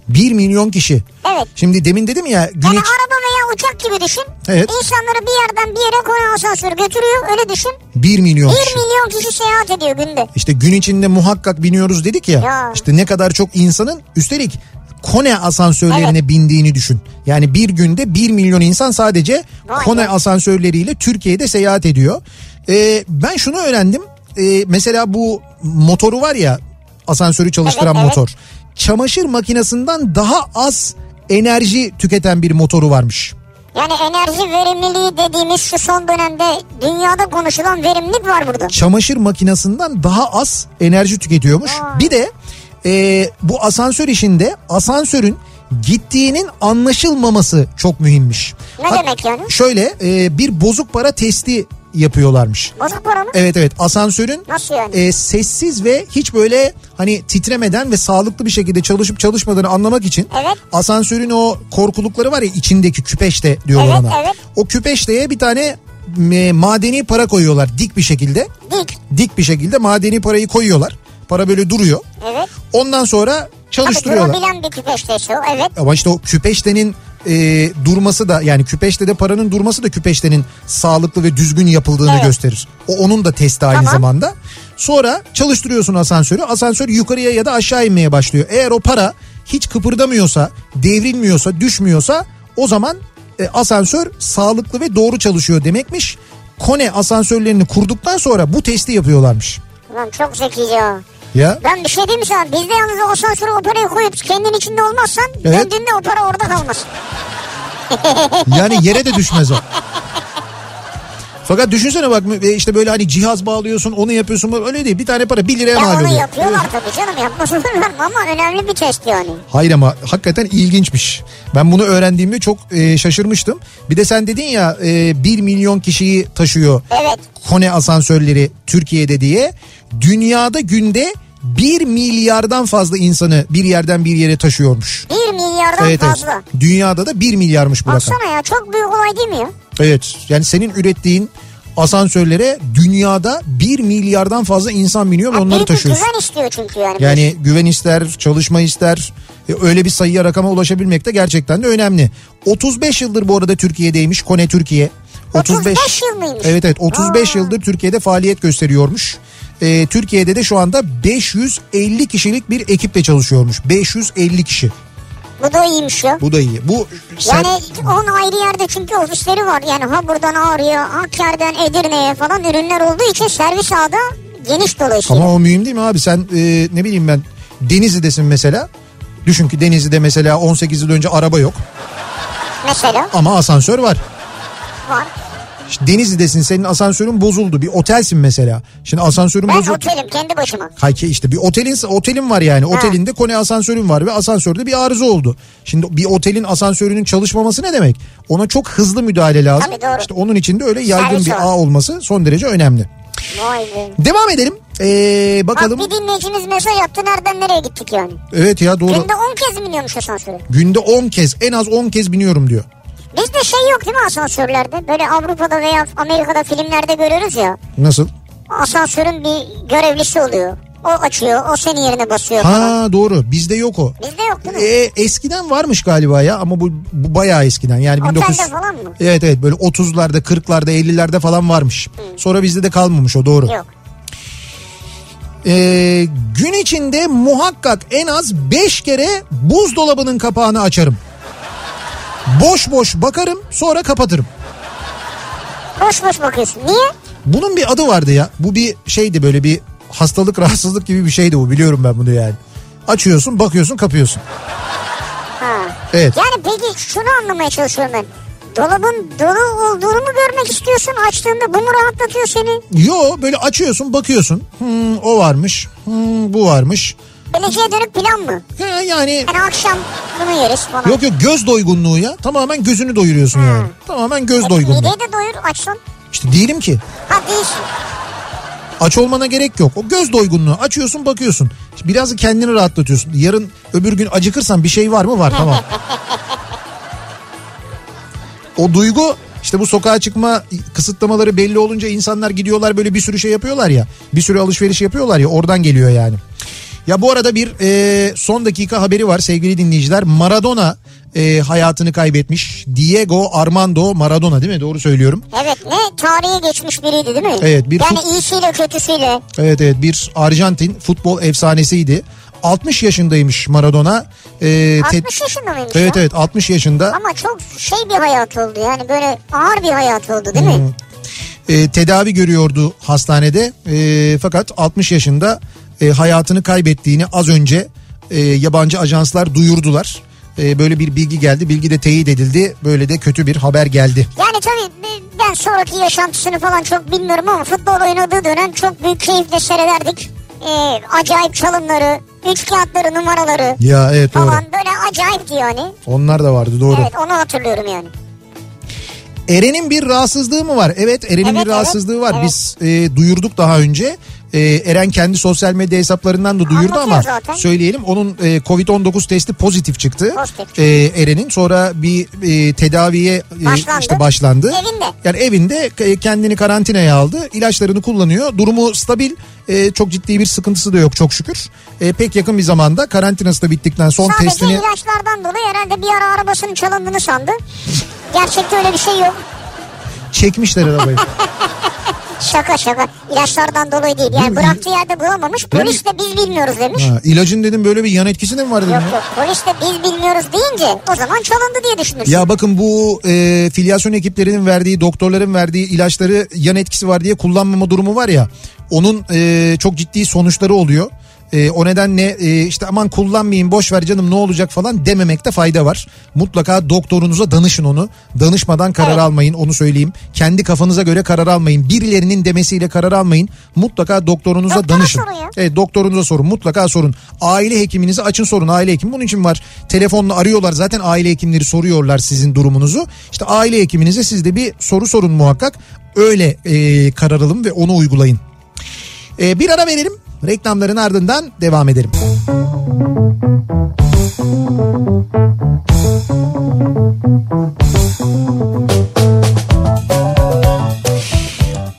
Speaker 2: 1 milyon kişi.
Speaker 1: Evet.
Speaker 2: Şimdi demin dedim ya gün
Speaker 1: Yani
Speaker 2: iç-
Speaker 1: araba veya uçak gibi düşün.
Speaker 2: Evet.
Speaker 1: İnsanları bir yerden bir yere Kone asansörü götürüyor öyle düşün.
Speaker 2: 1 milyon
Speaker 1: 1
Speaker 2: kişi.
Speaker 1: milyon kişi seyahat ediyor günde.
Speaker 2: İşte gün içinde muhakkak biniyoruz dedik ya.
Speaker 1: Ya.
Speaker 2: İşte ne kadar çok insanın üstelik Kone asansörlerine bindiğini düşün. Yani bir günde 1 milyon insan sadece
Speaker 1: Vay
Speaker 2: Kone
Speaker 1: be.
Speaker 2: asansörleriyle Türkiye'de seyahat ediyor. Ee, ben şunu öğrendim. Ee, mesela bu motoru var ya asansörü çalıştıran
Speaker 1: Evet, evet.
Speaker 2: motor. Çamaşır makinesinden daha az enerji tüketen bir motoru varmış.
Speaker 1: Yani enerji verimliliği dediğimiz şu son dönemde dünyada konuşulan verimlilik var burada.
Speaker 2: çamaşır makinesinden daha az enerji tüketiyormuş. Bir de e, bu asansör işinde asansörün gittiğinin anlaşılmaması çok mühimmiş.
Speaker 1: Ne demek yani?
Speaker 2: Şöyle e, bir bozuk para testi yapıyorlarmış.
Speaker 1: Bozuk para mı?
Speaker 2: Evet evet asansörün
Speaker 1: Nasıl yani?
Speaker 2: e, sessiz ve hiç böyle hani titremeden ve sağlıklı bir şekilde çalışıp çalışmadığını anlamak için
Speaker 1: Evet.
Speaker 2: asansörün o korkulukları var ya içindeki küpeşte diyorlar
Speaker 1: Evet,
Speaker 2: ona.
Speaker 1: evet.
Speaker 2: O küpeşteye bir tane e, madeni para koyuyorlar dik bir şekilde.
Speaker 1: Dik.
Speaker 2: Dik bir şekilde madeni parayı koyuyorlar. Para böyle duruyor.
Speaker 1: Evet.
Speaker 2: Ondan sonra
Speaker 1: Tabii
Speaker 2: çalıştırıyorlar.
Speaker 1: durabilen bir küpeşte işte o. Evet.
Speaker 2: Ama işte o küpeştenin e, durması da yani küpeştede paranın durması da küpeştenin sağlıklı ve düzgün yapıldığını
Speaker 1: Evet.
Speaker 2: gösterir. O onun da testi aynı
Speaker 1: Tamam.
Speaker 2: zamanda. Sonra çalıştırıyorsun asansörü. Asansör yukarıya ya da aşağı inmeye başlıyor. Eğer o para hiç kıpırdamıyorsa, devrilmiyorsa, düşmüyorsa o zaman e, asansör sağlıklı ve doğru çalışıyor demekmiş. Kone asansörlerini kurduktan sonra bu testi yapıyorlarmış.
Speaker 1: Ulan çok zekice o.
Speaker 2: Ya
Speaker 1: Ben bir şey diyeyim mi sana? Bizde yalnız o asansöre o parayı koyup kendin içinde olmazsan
Speaker 2: Evet.
Speaker 1: döndüğünde o para orada kalmaz.
Speaker 2: Yani yere de düşmez o. Fakat düşünsene bak e, işte böyle hani cihaz bağlıyorsun onu yapıyorsun bu- öyle değil bir tane para 1 liraya
Speaker 1: Ya
Speaker 2: mal
Speaker 1: E, onu
Speaker 2: oluyor.
Speaker 1: yapıyorlar tabii canım yapmasın olur mu? ama önemli bir test yani.
Speaker 2: Hayır ama hakikaten ilginçmiş. Ben bunu öğrendiğimde çok e, şaşırmıştım. Bir de sen dedin ya e, 1 milyon kişiyi taşıyor
Speaker 1: Evet.
Speaker 2: Kone asansörleri Türkiye'de diye. Dünyada günde 1 milyardan fazla insanı bir yerden bir yere taşıyormuş.
Speaker 1: 1 milyardan
Speaker 2: Evet, evet.
Speaker 1: fazla.
Speaker 2: Dünyada da 1 milyarmış bu rakam.
Speaker 1: Baksana ya çok büyük olay değil mi ya?
Speaker 2: Evet yani senin ürettiğin asansörlere dünyada 1 milyardan fazla insan biniyor ve
Speaker 1: Ya
Speaker 2: onları
Speaker 1: büyük bir
Speaker 2: taşıyorsun.
Speaker 1: güven istiyor çünkü yani. bu
Speaker 2: Yani güven ister, çalışma ister. E, Öyle bir sayıya rakama ulaşabilmek de gerçekten de önemli. 35 yıldır bu arada Türkiye'deymiş Kone Türkiye.
Speaker 1: 35 yıl mıymış?
Speaker 2: Evet evet 35 yıldır Türkiye'de faaliyet gösteriyormuş. E, Türkiye'de de şu anda 550 kişilik bir ekiple çalışıyormuş. 550 kişi.
Speaker 1: Bu da iyiymiş ya.
Speaker 2: Bu da iyi. Bu sen-
Speaker 1: Yani 10 ayrı yerde çünkü ofisleri var. Yani ha buradan Ağrı'ya, Hakkari'den Edirne'ye falan ürünler olduğu için servis ağı da geniş dolayısıyla.
Speaker 2: Ama o mühim değil mi abi? Sen e, ne bileyim ben Denizli'desin mesela. Düşün ki Denizli'de mesela 18 yıl önce araba yok
Speaker 1: Mesela
Speaker 2: ama asansör var.
Speaker 1: var.
Speaker 2: İşte Denizli'desin senin asansörün bozuldu. Bir otelsin mesela. Şimdi asansörün
Speaker 1: Ben
Speaker 2: bozuldu.
Speaker 1: otelim kendi başıma.
Speaker 2: Hayki işte bir otelin otelin var yani. Otelinde kone asansörün var ve asansörde bir arıza oldu. Şimdi bir otelin asansörünün çalışmaması ne demek? Ona çok hızlı müdahale lazım.
Speaker 1: Tabii, doğru.
Speaker 2: İşte onun için de öyle yaygın
Speaker 1: Servis
Speaker 2: bir
Speaker 1: var.
Speaker 2: ağ olması son derece önemli.
Speaker 1: Vay be.
Speaker 2: Devam edelim. Ee, bakalım.
Speaker 1: Bak bir dinleyicimiz mesaj attı nereden nereye gittik yani.
Speaker 2: Evet ya doğru.
Speaker 1: Günde 10 kez biniyormuş asansöre.
Speaker 2: Günde 10 kez en az 10 kez biniyorum diyor.
Speaker 1: Bizde şey yok değil mi asansörlerde? Böyle Avrupa'da veya Amerika'da filmlerde görüyoruz ya.
Speaker 2: Nasıl?
Speaker 1: Asansörün bir görevlisi oluyor. O açıyor, o senin yerine basıyor falan.
Speaker 2: Ha doğru bizde yok o.
Speaker 1: Bizde yok değil mi?
Speaker 2: Ee, eskiden varmış galiba ya ama bu, bu bayağı eskiden yani
Speaker 1: Otelde
Speaker 2: 19
Speaker 1: falan mı?
Speaker 2: Evet evet böyle 30'larda 40'larda 50'lerde falan varmış. Sonra bizde de kalmamış o doğru.
Speaker 1: Hmm. Yok.
Speaker 2: Ee, gün içinde muhakkak en az 5 kere buzdolabının kapağını açarım. Boş boş bakarım sonra kapatırım.
Speaker 1: Boş boş bakıyorsun. Niye?
Speaker 2: Bunun bir adı vardı ya. Bu bir şeydi böyle bir hastalık rahatsızlık gibi bir şeydi bu biliyorum ben bunu yani. Açıyorsun bakıyorsun kapıyorsun.
Speaker 1: Ha.
Speaker 2: Evet.
Speaker 1: Yani peki şunu anlamaya çalışıyorum ben. Dolabın dolu olduğunu mu görmek istiyorsun açtığında? Bu mu rahatlatıyor seni?
Speaker 2: Yo böyle açıyorsun bakıyorsun. Hmm, o varmış. Hmm, bu varmış.
Speaker 1: Geleceğe dönük plan mı?
Speaker 2: Ha, yani
Speaker 1: Yani akşam bunu yeriz falan.
Speaker 2: yok yok göz doygunluğu ya. Tamamen gözünü doyuruyorsun yani. Tamamen göz doygunluğu.
Speaker 1: E, Mideyi de doyur açsın.
Speaker 2: İşte değilim ki.
Speaker 1: Ha değilsin.
Speaker 2: Aç olmana gerek yok. O göz doygunluğu açıyorsun bakıyorsun. Biraz da kendini rahatlatıyorsun. Yarın öbür gün acıkırsan bir şey var mı? Var tamam. o duygu işte bu sokağa çıkma kısıtlamaları belli olunca insanlar gidiyorlar böyle bir sürü şey yapıyorlar ya. Bir sürü alışveriş yapıyorlar ya oradan geliyor yani. Ya bu arada bir e, son dakika haberi var sevgili dinleyiciler. Maradona e, hayatını kaybetmiş. Diego Armando Maradona değil mi? Doğru söylüyorum.
Speaker 1: Evet ne tarihe geçmiş biriydi değil mi?
Speaker 2: Evet, bir
Speaker 1: yani
Speaker 2: fut-
Speaker 1: iyisiyle kötüsüyle.
Speaker 2: Evet evet bir Arjantin futbol efsanesiydi. 60 yaşındaymış Maradona. Ee, te-
Speaker 1: 60 yaşında mıymış
Speaker 2: Evet
Speaker 1: ya?
Speaker 2: evet 60 yaşında.
Speaker 1: Ama çok şey bir hayat oldu yani böyle ağır bir hayat oldu değil mi?
Speaker 2: e, tedavi görüyordu hastanede. E, fakat 60 yaşında e, hayatını kaybettiğini az önce e, yabancı ajanslar duyurdular. E, böyle bir bilgi geldi. Bilgi de teyit edildi. Böyle de kötü bir haber geldi.
Speaker 1: Yani tabii b- ben sonraki yaşantısını falan çok bilmiyorum ama futbol oynadığı dönem çok büyük keyifle seyrederdik. Ee, acayip çalımları, üç kağıtları, numaraları
Speaker 2: Ya evet doğru.
Speaker 1: falan böyle acayipti yani.
Speaker 2: Onlar da vardı doğru.
Speaker 1: Evet onu hatırlıyorum yani.
Speaker 2: Eren'in bir rahatsızlığı mı var? Evet Eren'in
Speaker 1: Evet,
Speaker 2: bir rahatsızlığı var.
Speaker 1: evet.
Speaker 2: Biz e, duyurduk daha önce. E, Eren kendi sosyal medya hesaplarından da duyurdu
Speaker 1: Anlatıyor
Speaker 2: ama
Speaker 1: zaten.
Speaker 2: söyleyelim onun e, Covid-19 testi pozitif çıktı.
Speaker 1: Pozitif.
Speaker 2: E, Eren'in sonra bir e, tedaviye e,
Speaker 1: Başlandı.
Speaker 2: işte başlandı.
Speaker 1: Evinde.
Speaker 2: Yani evinde e, kendini karantinaya aldı. İlaçlarını kullanıyor. Durumu stabil. E, çok ciddi bir sıkıntısı da yok çok şükür. E, pek yakın bir zamanda karantinası da bittikten son
Speaker 1: Sadece
Speaker 2: testini
Speaker 1: ilaçlardan dolayı herhalde bir ara arabasının çalındığını sandı. Gerçekte öyle bir şey yok.
Speaker 2: çekmişler arabayı.
Speaker 1: Şaka şaka. İlaçlardan dolayı değil.
Speaker 2: Değil
Speaker 1: Yani
Speaker 2: mi?
Speaker 1: bıraktığı yerde bulamamış. Polis de biz bilmiyoruz demiş.
Speaker 2: ha, ilacın dedim böyle bir yan etkisi de mi var dedim.
Speaker 1: Yok
Speaker 2: ya?
Speaker 1: yok polis de biz bilmiyoruz deyince o zaman çalındı diye düşünürsün.
Speaker 2: Ya bakın bu e, filyasyon ekiplerinin verdiği, doktorların verdiği ilaçları yan etkisi var diye kullanmama durumu var ya. Onun e, çok ciddi sonuçları oluyor. E, o nedenle e, işte aman kullanmayayım boş ver canım ne olacak falan dememekte fayda var. Mutlaka doktorunuza danışın onu. Danışmadan karar almayın onu söyleyeyim. Kendi kafanıza göre karar almayın. Birilerinin demesiyle karar almayın. Mutlaka doktorunuza
Speaker 1: Doktora
Speaker 2: danışın.
Speaker 1: sorun ya.
Speaker 2: Evet doktorunuza sorun mutlaka sorun. Aile hekiminizi açın sorun aile hekimi bunun için var. Telefonla arıyorlar zaten aile hekimleri soruyorlar sizin durumunuzu. İşte aile hekiminize siz de bir soru sorun muhakkak. Öyle e, karar alın ve onu uygulayın. E, bir ara verelim reklamların ardından devam edelim.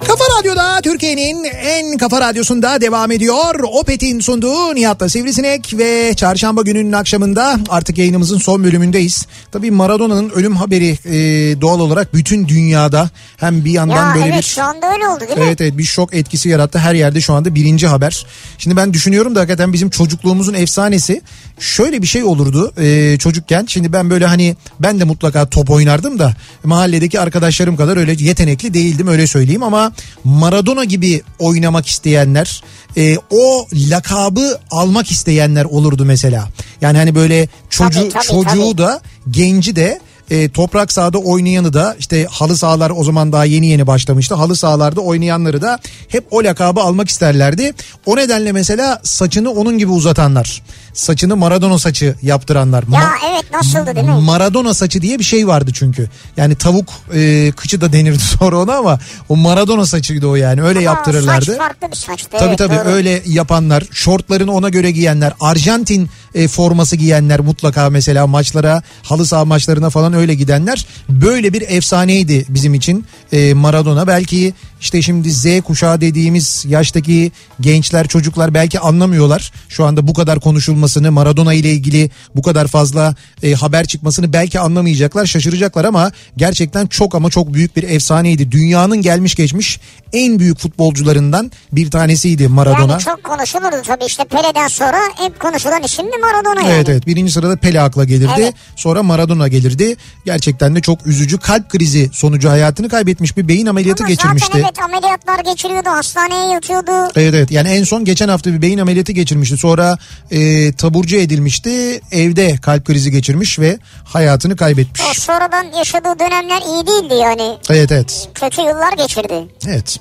Speaker 2: Kafa Radyo'da Türkiye'nin en kafa radyosunda devam ediyor. Opet'in sunduğu Nihat'la Sivrisinek ve çarşamba gününün akşamında artık yayınımızın son bölümündeyiz. Tabii Maradona'nın ölüm haberi e, doğal olarak bütün dünyada hem bir yandan
Speaker 1: Ya
Speaker 2: böyle
Speaker 1: evet
Speaker 2: bir...
Speaker 1: şu anda öyle oldu değil mi?
Speaker 2: Evet evet bir şok etkisi yarattı. Her yerde şu anda birinci haber. Şimdi ben düşünüyorum da hakikaten bizim çocukluğumuzun efsanesi şöyle bir şey olurdu e, çocukken. Şimdi ben böyle hani ben de mutlaka top oynardım da mahalledeki arkadaşlarım kadar öyle yetenekli değildim öyle söyleyeyim. Ama Maradona gibi oynamak isteyenler e, o lakabı almak isteyenler olurdu mesela. Yani hani böyle çocuğu,
Speaker 1: Tabii, tabii,
Speaker 2: çocuğu
Speaker 1: tabii.
Speaker 2: da genci de e, toprak sahada oynayanı da işte halı sahalar o zaman daha yeni yeni başlamıştı. Halı sahalarda oynayanları da hep o lakabı almak isterlerdi. O nedenle mesela saçını onun gibi uzatanlar, saçını Maradona saçı yaptıranlar.
Speaker 1: Ya
Speaker 2: Ma-
Speaker 1: evet nasıldı değil mi?
Speaker 2: Maradona saçı diye bir şey vardı çünkü. Yani tavuk e, kıçı da denirdi sonra ona ama o Maradona saçıydı o yani öyle
Speaker 1: Aa,
Speaker 2: yaptırırlardı.
Speaker 1: Saç farklı bir saçtı.
Speaker 2: Tabii
Speaker 1: evet,
Speaker 2: tabii
Speaker 1: doğru.
Speaker 2: öyle yapanlar, şortlarını ona göre giyenler, Arjantin e, forması giyenler mutlaka mesela maçlara, halı saha maçlarına falan öyle gidenler böyle bir efsaneydi bizim için e, Maradona. Belki işte şimdi Z kuşağı dediğimiz yaştaki gençler, çocuklar belki anlamıyorlar. Şu anda bu kadar konuşulmasını, Maradona ile ilgili bu kadar fazla e, haber çıkmasını belki anlamayacaklar, şaşıracaklar ama gerçekten çok ama çok büyük bir efsaneydi. Dünyanın gelmiş geçmiş en büyük futbolcularından bir tanesiydi Maradona.
Speaker 1: Yani çok konuşulurdu tabii işte Pele'den sonra hep konuşulan isim de Maradona yani.
Speaker 2: Evet evet birinci sırada Pele akla gelirdi
Speaker 1: Evet.
Speaker 2: sonra Maradona gelirdi gerçekten de çok üzücü kalp krizi sonucu hayatını kaybetmiş bir beyin ameliyatı
Speaker 1: Ama
Speaker 2: geçirmişti.
Speaker 1: Zaten evet ameliyatlar geçiriyordu hastaneye yatıyordu.
Speaker 2: Evet evet yani en son geçen hafta bir beyin ameliyatı geçirmişti. Sonra e, taburcu edilmişti. Evde kalp krizi geçirmiş ve hayatını kaybetmiş.
Speaker 1: O sonradan yaşadığı dönemler iyi değildi yani.
Speaker 2: Evet evet.
Speaker 1: Kötü yıllar geçirdi.
Speaker 2: Evet.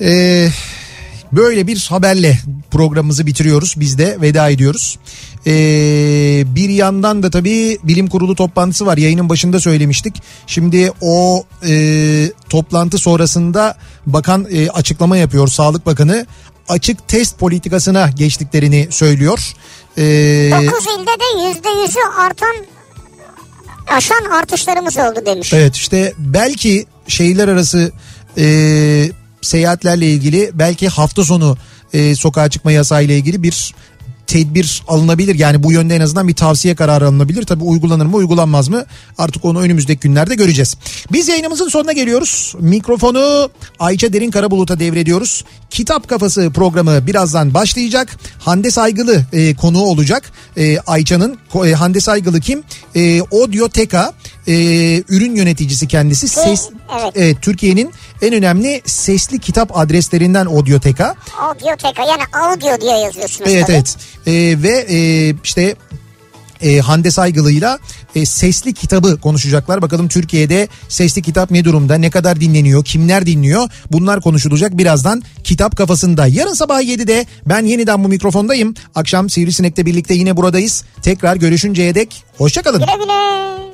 Speaker 2: Ee, böyle bir haberle programımızı bitiriyoruz. Biz de veda ediyoruz. Ee, bir yandan da tabii bilim kurulu toplantısı var. Yayının başında söylemiştik. Şimdi o e, toplantı sonrasında bakan e, açıklama yapıyor. Sağlık Bakanı açık test politikasına geçtiklerini söylüyor. Ee,
Speaker 1: 9 ilde de yüzde yüzü artan aşan artışlarımız oldu demiş.
Speaker 2: Evet işte belki şehirler arası e, seyahatlerle ilgili belki hafta sonu e, sokağa çıkma yasağı ile ilgili bir tedbir alınabilir. Yani bu yönde en azından bir tavsiye kararı alınabilir. Tabii uygulanır mı uygulanmaz mı artık onu önümüzdeki günlerde göreceğiz. Biz yayınımızın sonuna geliyoruz. Mikrofonu Ayça Derin Karabulut'a devrediyoruz. Kitap Kafası programı birazdan başlayacak. Hande Saygılı e, konuğu olacak. E, Ayça'nın Ko- e, Hande Saygılı kim? E, Audioteka e, ürün yöneticisi kendisi. Ses
Speaker 1: evet.
Speaker 2: evet, Türkiye'nin en önemli sesli kitap adreslerinden Audioteka.
Speaker 1: Audioteka yani audio diye yazıyorsunuz
Speaker 2: Evet
Speaker 1: tabii.
Speaker 2: evet. Ee, ve e, işte e, Hande Saygılı'yla e, sesli kitabı konuşacaklar. Bakalım Türkiye'de sesli kitap ne durumda? Ne kadar dinleniyor? Kimler dinliyor? Bunlar konuşulacak birazdan kitap kafasında. Yarın sabah 7'de ben yeniden bu mikrofondayım. Akşam Sivrisinek'le birlikte yine buradayız. Tekrar görüşünceye dek hoşçakalın.
Speaker 1: Güle güle.